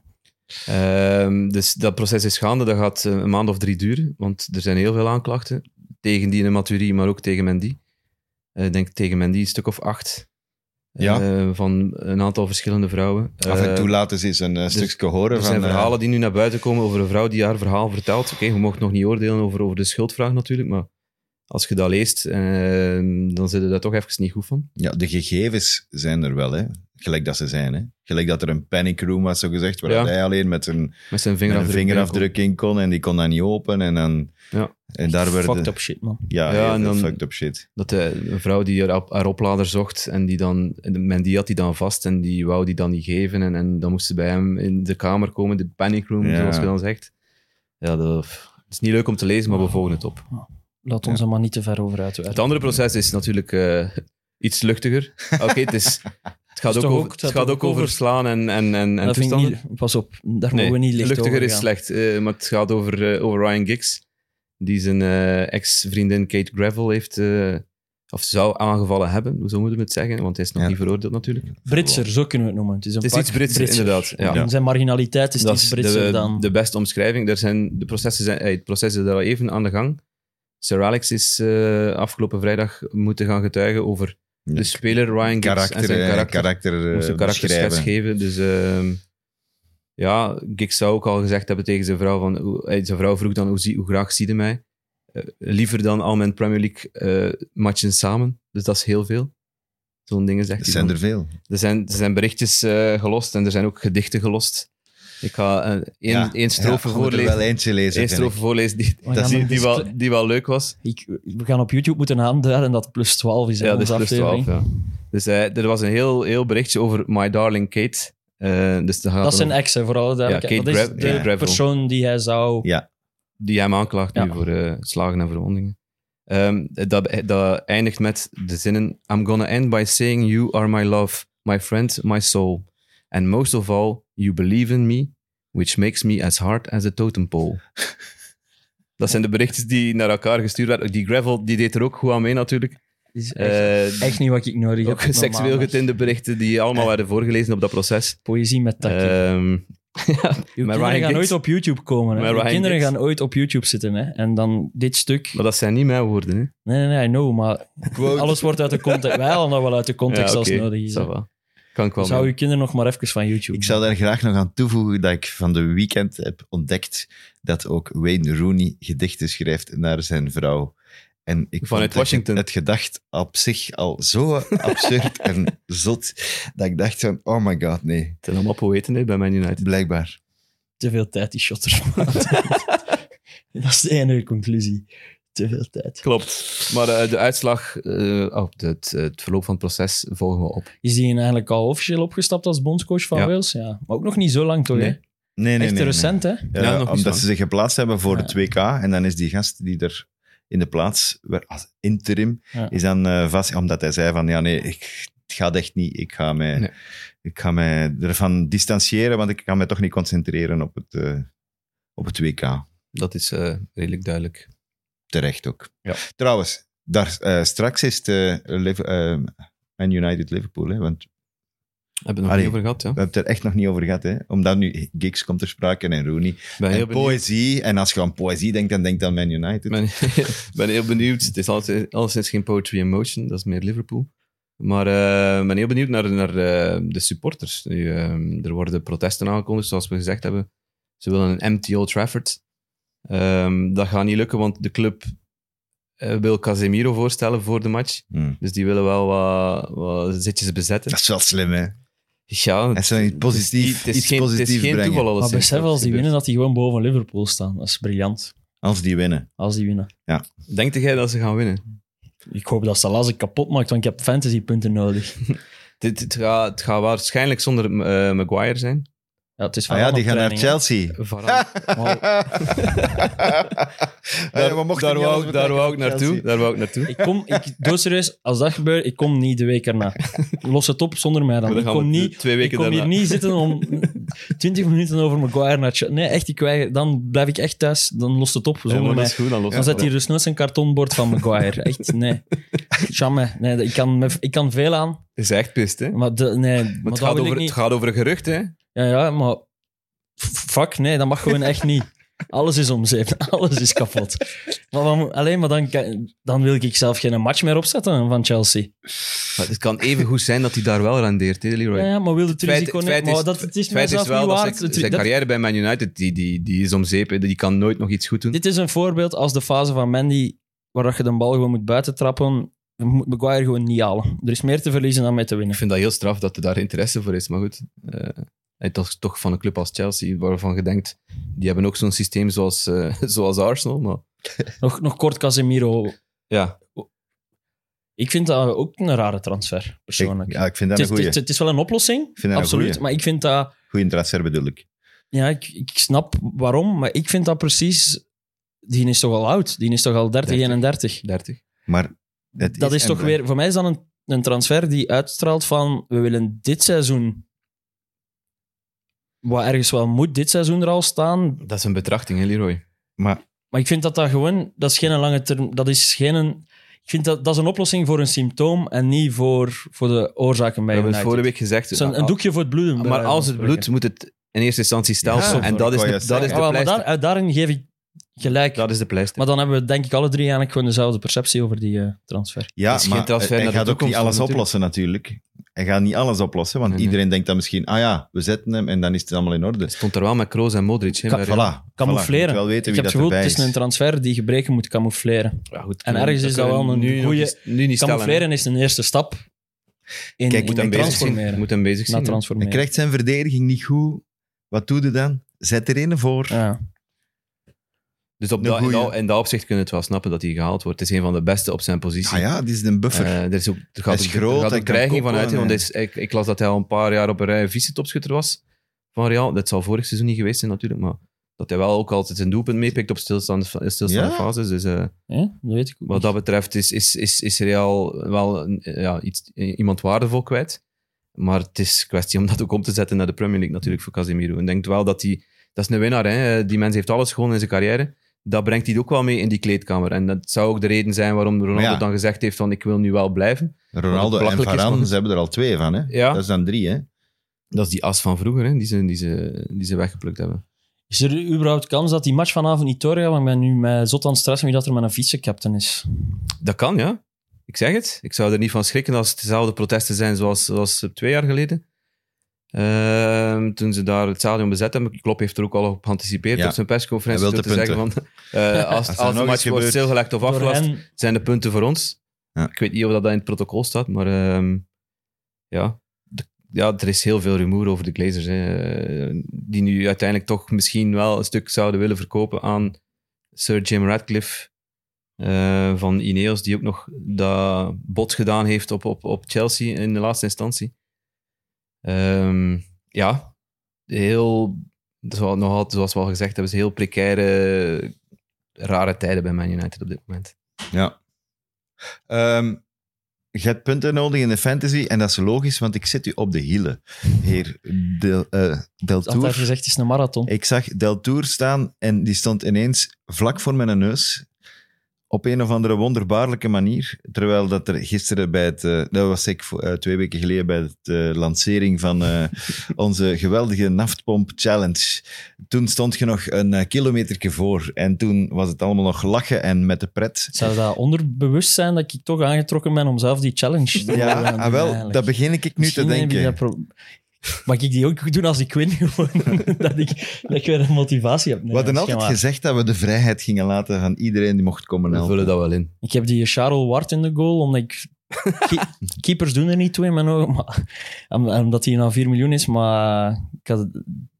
Ehm, dus dat proces is gaande. Dat gaat eh, een maand of drie duren, want er zijn heel veel aanklachten. Tegen die in Maturie, maar ook tegen Mendy. Eh, Ik denk tegen Mendy een stuk of acht. Ja. Eh, van een aantal verschillende vrouwen. Af en Eh, toe laten ze eens een dus eh, stukje horen er van... zijn eh, verhalen die nu naar buiten komen over een vrouw die haar verhaal vertelt. Oké, we mogen nog niet oordelen over, over de schuldvraag natuurlijk, maar als je dat leest, eh, dan zit je daar toch even niet goed van. ja, de gegevens zijn er wel, hè. Gelijk dat ze zijn, hè. Gelijk dat er een panic room was, zo gezegd, waar Ja. hij alleen met een, Met zijn met een vingerafdruk. vingerafdrukking kon en die kon dat niet open. En, dan, Ja. en daar werden... Fucked up shit, man. Ja, Ja, heel en veel dan- fucked up shit. Dat de, een vrouw die haar, op- haar oplader zocht en die dan, en men die had die dan vast en die wou die dan niet geven. En, en dan moest ze bij hem in de kamer komen, de panic room, Ja. zoals je dan zegt. Ja, dat het is niet leuk om te lezen, Oh. maar we volgen het op. Ah, Laat ons er maar niet te ver over Het uitwerken. andere proces is natuurlijk eh, iets luchtiger. Oké, het, is, het is gaat, ook toch over, ook- het dat gaat ook ook over over- slaan en, en, en, en Dat vind ik toestanden. niet, pas op, daar Nee, mogen we niet licht luchtiger over is gaan. slecht, eh, maar het gaat over, eh, over Ryan Giggs. Die zijn eh, ex-vriendin Kate Gravel heeft, eh, of zou aangevallen hebben, zo moeten we het zeggen, want hij is nog Ja. niet veroordeeld natuurlijk. Britser, zo kunnen we het noemen. Het is, een Het is pak iets Brits, inderdaad. Ja. En Zijn marginaliteit is Dat iets is Britser de, dan... de beste omschrijving. Er zijn, de processen zijn, eh, het proces is daar al even aan de gang. Sir Alex is eh, afgelopen vrijdag moeten gaan getuigen over Ja. de speler Ryan Giggs Karakter, en zijn eh, karakter. karakter, eh, moest een karakterschets beschrijven. geven. Dus ehm, ja, Giggs zou ook al gezegd hebben tegen zijn vrouw: van, hoe- eh, zijn vrouw vroeg dan hoe, zie- hoe graag zie je mij? Eh, liever dan al mijn Premier League eh, matchen samen. Dus dat is heel veel. Zo'n dingen zegt Er hij. zijn dan. er veel. Er, zijn, er zijn berichtjes eh, gelost en er zijn ook gedichten gelost. Ik ga een één, Ja. één strofe Ja, we moeten er voorlezen. wel eentje lezen, Eén vind ik. strofe voorlezen die, We gaan dat is- die, een die discla- wel, die wel leuk was. Ik- we gaan op YouTube moeten aanduiden dat plus 12 is. hè, Ja, dus onze plus 12. aflevering. Ja. Dus eh, er was een heel, heel berichtje over My Darling Kate. Eh, dus dat gaat Dat is dan zijn ex, hè, voor alle duidelijkheid. Kate dat is Gra- de Kate Gravel. persoon die hij zou... Ja, die hem aanklaagt nu Ja. voor eh, slagen en verwondingen. Ehm, dat, dat eindigt met de zinnen: I'm gonna end by saying you are my love, my friend, my soul. And most of all, you believe in me, which makes me as hard as a totem pole. dat zijn de berichtjes die naar elkaar gestuurd werden. Die Gravel die deed er ook goed aan mee natuurlijk. is echt, Eh, echt niet wat ik nodig ook heb. op seksueel normaal. dus. getinte berichten die allemaal werden voorgelezen op dat proces. Poëzie met takje. Ehm, ja, Uw maar kinderen Ryan gaan Giggs- ooit op YouTube komen. Maar Hè? Uw Ryan kinderen Giggs- gaan ooit op YouTube zitten. Hè? En dan dit stuk. maar dat zijn niet mijn woorden. Hè. Nee, nee, nee, I know, maar Quote. alles wordt uit de context. Wij halen dat wel uit de context Ja, als oké, het nodig is. ça hè. va. Kan ik wel Zou mee. uw kinderen nog maar even van YouTube. Ik zou daar graag nog aan toevoegen dat ik van de weekend heb ontdekt dat ook Wayne Rooney gedichten schrijft naar zijn vrouw. En ik Vanuit vond het- Washington. Het gedacht op zich al zo absurd en zot, dat ik dacht van, oh my god, nee. Het zijn allemaal poëten hè, bij Man United. Blijkbaar. te veel tijd die shotters. dat is de enige conclusie. te veel tijd. Klopt. Maar eh, de uitslag, eh, oh, de- het, het verloop van het proces volgen we op. Is die eigenlijk al officieel opgestapt als bondscoach van Ja. Wales? Ja. Maar ook nog niet zo lang, toch? Nee. hè? Nee, nee, Echt nee, recent, hè? nee. Ja, Ja, nog niet zo omdat lang. ze zich geplaatst hebben voor Ja. het WK. En dan is die gast die er in de plaats werd als interim, Ja. is dan eh, vast. Omdat hij zei van, ja nee, ik, het gaat echt niet. Ik ga, mij, Nee. ik ga mij ervan distancieren, want ik kan mij toch niet concentreren op het, eh, op het WK. Dat is eh, redelijk duidelijk. Terecht ook. Ja. Trouwens, daar, eh, straks is het eh, Liv- eh, Man United Liverpool, hè, want Hebben we het nog Allee. niet over gehad, ja? we hebben het er echt nog niet over gehad. Hè, omdat nu Giggs komt ter sprake en Rooney. Ben En heel benieuwd. poëzie. En als je aan poëzie denkt, dan denkt aan Man United. Ben, ben heel benieuwd. Het is alles- alleszins geen Poetry in Motion, dat is meer Liverpool. Maar eh, ik ben heel benieuwd naar, naar eh, de supporters. Nu, eh, er worden protesten aangekondigd, zoals we gezegd hebben. Ze willen een empty Old Trafford. Ehm, dat gaat niet lukken, want de club eh, wil Casemiro voorstellen voor de match. Hmm. Dus die willen wel wat, wat zitjes bezetten. Dat is wel slim, hè? Ja, En zo iets positief, het is iets geen, het is positief geen brengen. toeval. Maar alleszins besef dat als die gebeurt. winnen dat die gewoon boven Liverpool staan. Dat is briljant. Als die winnen. Ah Als die winnen. Denkt jij dat ze gaan winnen? Ik hoop dat Salah ze kapot maakt, want ik heb fantasypunten nodig. Dit, het, gaat, het gaat waarschijnlijk zonder eh, Maguire zijn. Ja, het is Ah ja, die gaan naar training, hè. Chelsea. Varane- Maar Daar, daar wou, ik- daar wou ik naartoe. Daar wou ik naartoe. Ik kom, ik, doe serieus, als dat gebeurt, ik kom niet de week erna. Los het op zonder mij dan. Maar dan ik gaan we kom, de niet, twee weken ik kom hier daarna. niet zitten om 20 minuten over Maguire naar Chelsea. Nee, echt, ik weiger- dan blijf ik echt thuis. Dan lost het op Ja, zonder maar dat mij. is goed, dan los Dan het zet op. hier dus nooit een kartonbord van Maguire. Echt, nee. Jamme. Nee, ik kan, me- ik kan veel aan, Het is echt pist, hè? Maar maar de, nee. Maar het, dat gaat wil ik over, het niet. gaat over gerucht, hè? Ja, ja, maar f- fuck, nee, dat mag gewoon echt niet. Alles is omzeep, alles is kapot. Maar dan, alleen maar dan, kan- dan wil ik zelf geen match meer opzetten van Chelsea. Maar het kan even goed zijn dat hij daar wel rendeert, hè, Leroy? Ja, ja, maar wil het Het feit- risico het niet. feit Maar is- Eh, dat, het het is feit is mijzelf wel niet dat waard. zijn, Het- zijn dat- carrière bij Man United die, die, die is om zeep. hè. Die kan nooit nog iets goed doen. dit is een voorbeeld als de fase van Mandy, waar dat je de bal gewoon moet buiten trappen, je moet Maguire gewoon niet halen. Er is meer te verliezen dan mee te Ik winnen. vind dat heel straf dat er daar interesse voor is. Maar goed, eh, en dat is toch van een club als Chelsea, waarvan je denkt, die hebben ook zo'n systeem zoals, eh, zoals Arsenal. Maar Nog, nog kort Casemiro. ja, Ik vind dat ook een rare transfer, Ik, persoonlijk. ja, ik vind dat het, een is, het, goede. is, het is wel een oplossing, vind dat een absoluut. goeie. Maar ik vind dat... Goeie transfer bedoel ik. Ja, ik, ik snap waarom, maar ik vind dat precies. Die is toch al oud, die is toch al 30, 30. 31. 30. Maar het Dat is toch en- weer, voor mij is dat een, een transfer die uitstraalt van we willen dit seizoen. Wat ergens wel moet dit seizoen er al staan. Dat is een betrachting, hè, Leroy? Maar ik vind dat dat gewoon, dat is geen lange term, dat is geen. een- ik vind dat, dat is een oplossing voor een symptoom en niet voor, voor de oorzaken We bij hebben United. het vorige week gezegd. Ah, Het is een, een doekje voor het bloeden. bij Maar wijze van als het spreken. bloedt, moet het in eerste instantie stelsel. Ja, en dat is, ik wou de, juist dat zeggen. is de Ah, wel, maar pleister. daar, daarin geef ik gelijk. Dat is de pleister. Maar dan hebben we denk ik alle drie eigenlijk gewoon dezelfde perceptie over die eh, transfer. Ja, Het is geen maar transfer hij naar de gaat ook toekomst, niet alles natuurlijk. Mhm. oplossen natuurlijk. Hij gaat niet alles oplossen, want Nee, nee. iedereen denkt dan misschien, ah ja, we zetten hem en dan is het allemaal in orde. Stond er wel met Kroos en Modric. Hè, Ka- bij Real. Voilà. Voilà, je Camoufleren. moet wel weten Ik wie dat heb het gevoel, erbij het is. is een transfer die gebreken moet camoufleren. Ja, goed, En kunnen- ergens is dat kunnen wel een nu nog goeie- niet- Nu niet stellen. hè. Camoufleren is een eerste stap in, Kijk, in moet Moet hem bezig zien. transformeren. Moet hem bezig Na zien. hè. Hij transformeren. krijgt zijn verdediging niet goed. Wat doe je dan? Zet er een voor. Ja. Dus op Een dat, in, goeie. dat, in dat opzicht kunnen we het wel snappen dat hij gehaald wordt. Het is een van de beste op zijn positie. Ah ja, dit is een buffer. Eh, er, is ook, er gaat Hij is ook, groot, er gaat hij ook kan dreiging koppelen, van uit. hè, Want hè. hij is- ik, ik las dat hij al een paar jaar op een rij vice-topschutter was van Real. Dat zou vorig seizoen niet geweest zijn natuurlijk, maar dat hij wel ook altijd zijn doelpunt meepikt op stilstaande, fa- stilstaande Ja. fases. Dus eh, Ja, dat weet ik ook wat dat betreft is, is, is, is Real wel een- ja, iets, iemand waardevol kwijt. Maar het is kwestie om dat ook om te zetten naar de Premier League natuurlijk voor Casemiro. En ik denk wel dat hij... Dat is een winnaar, hè. Die mens heeft alles gewoon in zijn carrière. Dat brengt hij ook wel mee in die kleedkamer. En dat zou ook de reden zijn waarom Ronaldo Maar ja. dan gezegd heeft van ik wil nu wel blijven. Ronaldo en wat belachelijk is, Varane, want- ze hebben er al twee van. Hè? Ja. Dat is dan drie. Hè? Dat is die as van vroeger, hè, die, ze, die, ze, die ze weggeplukt hebben. Is er überhaupt kans dat die match vanavond niet doorgaat? Want ik ben nu met zot aan het stressen wie dat er met een vice-captain is. Dat kan, ja. Ik zeg het. Ik zou er niet van schrikken als het dezelfde protesten zijn zoals, zoals twee jaar geleden. Ehm, toen ze daar het stadion bezet hebben. Klopp heeft er ook al op geanticipeerd Ja. op zijn persconferentie. Hij wil door de te zeggen van, eh, als, er nog als, de iets match wordt gebeurt, stilgelegd of Door afgelast, hen, zijn de punten voor ons. Ja. Ik weet niet of dat in het protocol staat, maar ehm, ja. De- ja, er is heel veel rumoer over de Glazers. Hè, eh, die nu uiteindelijk toch misschien wel een stuk zouden willen verkopen aan Sir Jim Radcliffe. eh, van Ineos, die ook nog dat bot gedaan heeft op, op, op Chelsea in de laatste instantie. Ehm, ja, heel, zoals, nog altijd, zoals we al gezegd hebben, is heel precaire, rare tijden bij Man United op dit moment. Ja. Ehm, je hebt punten nodig in de fantasy en dat is logisch, want ik zit u op de hielen. Heer Del, eh, Del Dat had Tour. gezegd, het is een marathon. Ik zag Del Tour staan en die stond ineens vlak voor mijn neus. Op een of andere wonderbaarlijke manier. Terwijl dat er gisteren bij het. eh, dat was ik voor- eh, twee weken geleden bij de lancering van eh, onze geweldige Naftpomp Challenge. Toen stond je nog een eh, kilometerke voor. En toen was het allemaal nog lachen en met de pret. Zou dat onderbewust zijn dat ik toch aangetrokken ben om zelf die challenge te Ja, willen doen ah, wel, eigenlijk? dat begin ik nu te Misschien heb ik denken. dat pro- Mag ik die ook doen als ik win? Gewoon, dat, ik, dat ik weer een motivatie heb. Nee, We hadden dat altijd is geen waar. gezegd dat we de vrijheid gingen laten van iedereen die mocht komen We helpen. vullen dat wel in. Ik heb die Charles Ward in de goal, omdat ik... Ke- Keepers doen er niet toe in mijn ogen, maar- om- omdat hij nou 4 miljoen is, maar ik had,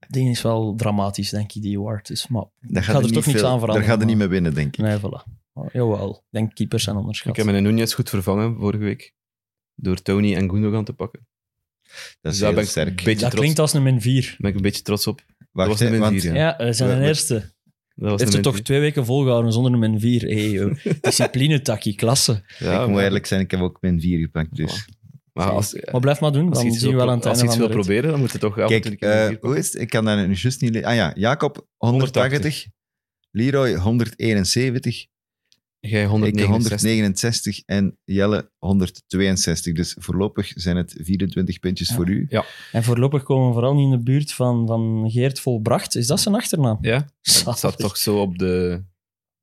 die is wel dramatisch, denk ik, die Ward is. Maar Daar gaat er toch niks aan veranderen, Daar gaat er maar- niet mee binnen, denk ik. nee, voilà. Maar, jawel, ik denk keepers zijn onderschat. Ik heb mijn Nunez goed vervangen vorige week. Door Tony en Gundogan te pakken. Dus Dat is Daar heel ben ik sterk. een beetje dat trots. klinkt als een min 4. Daar ben ik een beetje trots op. Wacht, was de hè, min want vier, Ja, Ja. we zijn We- een we- eerste. Dat was Heeft ze de toch min- twee weken volgehouden zonder een min 4. Hey, joh. Discipline, takkie, klasse. Ja, ik moet maar- eerlijk zijn, ik heb ook mijn vier gepakt. Dus. Maar als, Maar blijf maar doen, als je dan iets zien we wil, wel aan het als einde je iets van de wil rit. proberen, dan moet je toch af en Kijk, toe eh, een keer een hoe keer is het? Ik kan daar nu juist niet... le- Ah ja, Jacob 180, Leroy 171, Jij ik 169. 169 en Jelle 162. Dus voorlopig zijn het 24 puntjes Ja. voor u. En voorlopig komen we vooral niet in de buurt van, van Geert Volbracht. Is dat zijn achternaam? Ja, Zalig. dat staat toch zo op de,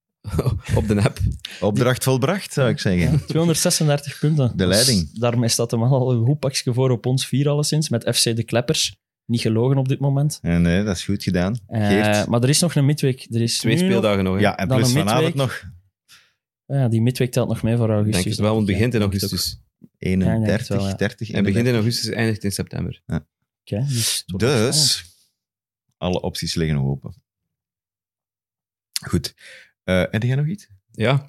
op de app. Opdracht volbracht, zou ik zeggen. Ja, 236 punten. De leiding. Dus daarmee staat hem al een goed pakje voor op ons vier alleszins, met FC De Kleppers. Niet gelogen op dit moment. En eh, dat is goed gedaan. Eh, Geert. maar er is nog een midweek. Er is Twee nu nog- speeldagen nog. hè. Ja, en dan plus een vanavond midweek. nog ja, die midweek telt nog mee voor Ik augustus. denk het wel, want het begint in augustus. 31, wel, ja. 30. Hij begint in augustus, eindigt in september. Oké, dus het wordt wel spannend. Dus, alle opties liggen nog open. Goed. Eh, en jij nog iets? Ja.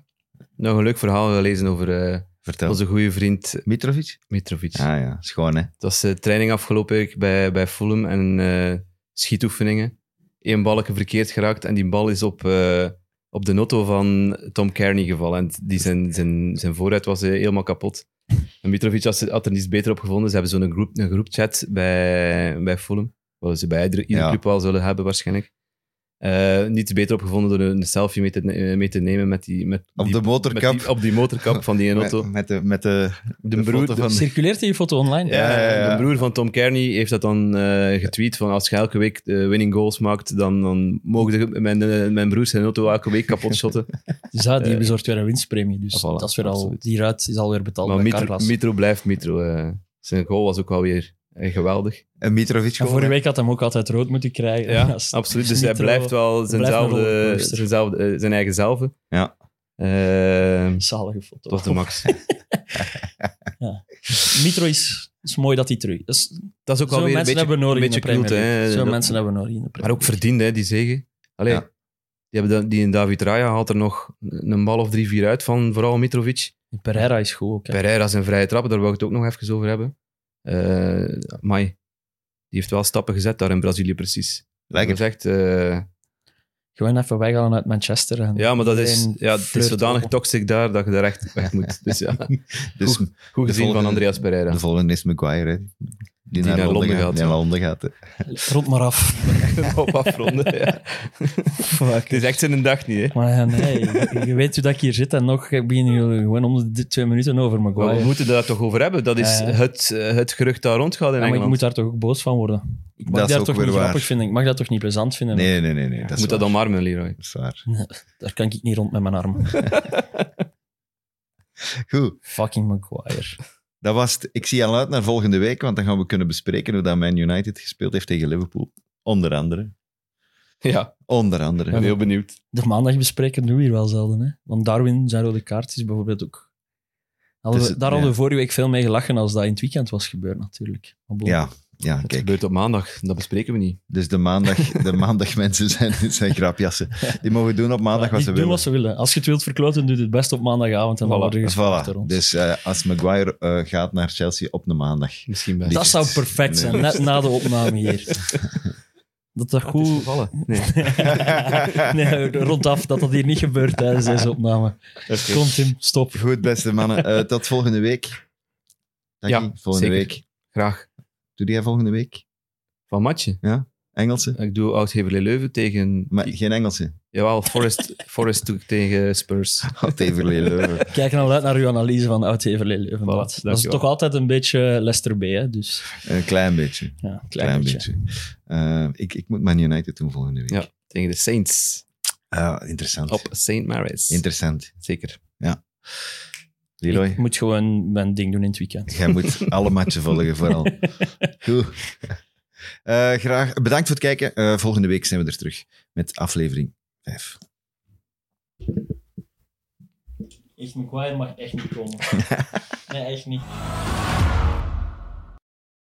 Nog een leuk verhaal gelezen over eh, Vertel. onze goede vriend Mitrovic? Mitrovic. Ah ja, schoon hè. Dat was eh, training afgelopen week bij, bij Fulham en eh, schietoefeningen. Eén balletje verkeerd geraakt en die bal is op, eh, op de notto van Tom Kearney gevallen. En die zijn, zijn, zijn vooruit was eh, helemaal kapot. En Mitrovic had, had er niets beter op gevonden. Ze hebben zo'n groep, een groepchat bij, bij Fulham. Wat ze bij iedere, iedere Ja. club wel zullen hebben waarschijnlijk. Eh, niets beter opgevonden door een, een selfie mee te, ne- mee te nemen met die, met Op die- de met motorkap. die, op die motorkap van die ene met, auto. met de, met de, De broer- foto de- van... Circuleert die foto online? Ja, Ja, ja, ja. Eh, de broer van Tom Kearney heeft dat dan eh, getweet van als je elke week eh, winning goals maakt, dan, dan mogen de- mijn, eh, mijn broer zijn auto elke week kapot shotten. Dus ja, die Eh, Ah, bezorgt weer een winstpremie. Dus voilà, dat is weer al, absoluut. die ruit is alweer betaald maar bij Mitro, Carglass. Mitro blijft Mitro. eh. zijn goal was ook wel weer eh, geweldig. Een Mitrovic En gewoon, vorige hè. week had hem ook altijd rood moeten krijgen. Ja, Als- absoluut. Dus hij Mitro- blijft wel blijft een zijnzelfde, rollercoaster. zijnzelfde, eh, zijn eigen zelf. Ja. Eh, Zalige foto. dat was de max. Mitro is, is mooi dat hij terug dat is. Dat is ook wel Zo'n weer een mensen beetje, hebben we een nodig in de beetje Premier kloot. League. hè. Zo'n Dat- mensen hebben we nodig in de Premier Maar ook League. verdiend, hè, die zegen. Allee, Ja. die, hebben dan, die en David Raya had er nog een bal of drie, vier uit van vooral Mitrovic. Die Pereira is goed ook. hè. Pereira zijn vrije trappen, daar wou ik het ook nog even over hebben. Eh Mai, die heeft wel stappen gezet daar in Brazilië precies. Lekker. Dat is echt, eh, Gewoon even weghalen uit Manchester. En ja, maar dat is, iedereen ja, het is flirt Oh, zodanig op. toxic daar dat je daar echt weg moet. Dus ja, Dus goed, goed gezien volgende- van Andreas Pereira. de volgende is Maguire, hè. Die, naar, naar Londen Londen gaat. gaat, die ja. naar Londen gaat, hè. Rond maar af. Op afronden, ja. Fuck. Het is echt zijn dag niet, hè. Maar ja, nee, je- je weet hoe dat ik hier zit en nog beginnen jullie gewoon om de d- twee minuten over Maar Maguire. we moeten daar toch over hebben. Dat is Ja, ja. het, eh, het gerucht dat rondgaat in Ja, maar ik Engeland. moet daar toch ook boos van worden. Ik mag Dat is daar ook toch weer niet waar. grappig vinden. Ik mag dat toch niet plezant vinden. Nee, nee, nee. nee dat is moet dat waar. omarmen, Leroy. Dat is waar. Daar kan ik niet rond met mijn arm. Goed, Fucking Maguire. dat was het. Ik zie al uit naar volgende week, want dan gaan we kunnen bespreken hoe dat Man United gespeeld heeft tegen Liverpool. Onder andere. Ja, Onder andere. ik ben heel benieuwd. De maandag bespreken doen we hier wel zelden. Hè? Want Darwin, zijn rode kaart, is bijvoorbeeld ook... Hadden Dus we, het- daar hadden ja. we vorige week veel mee gelachen als dat in het weekend was gebeurd, natuurlijk. Maar bon. Ja, Ja, Het kijk. gebeurt op maandag, dat bespreken we niet. Dus de maandag, de maandag mensen zijn, zijn grapjassen. Die mogen doen op maandag wat Die ze doen willen. wat ze willen. Als je het wilt verkloten, doe je het best op maandagavond. En dan Voilà, worden je Voilà. door ons. Dus eh, als Maguire eh, gaat naar Chelsea op de maandag. Misschien best. Die- dat zou perfect zijn, net na de opname hier. Dat dat Het is goed... gevallen. Nee. nee, rondaf dat dat hier niet gebeurt tijdens deze opname. Oké. Kom Tim, stop. Goed, beste mannen. Eh, tot volgende week. Dank Ja, je. Volgende zeker. week. Graag. Doe jij volgende week? Van matje. Engelse? Ik doe oud Heverlee Leuven tegen... Maar geen Engelse. Jawel, Forest, Forest doe ik tegen Spurs. Had even leren. Kijk nou uit naar uw analyse van oud Heverlee Leuvenblad. dat is dankjewel. toch altijd een beetje Lester B, hè? Dus Een klein beetje. ja, een klein, Klein beetje. beetje. Eh, ik, ik moet Man United doen volgende week. Ja. Tegen de Saints. Ah, interessant. Op St. Mary's. Interessant. Zeker. Leroy, Ik moet gewoon mijn ding doen in het weekend. jij moet alle matchen volgen vooral. Goed. Eh, graag bedankt voor het kijken. Eh, volgende week zijn we er terug met aflevering 5. Echt, McGuire mag echt niet komen. Nee, echt niet.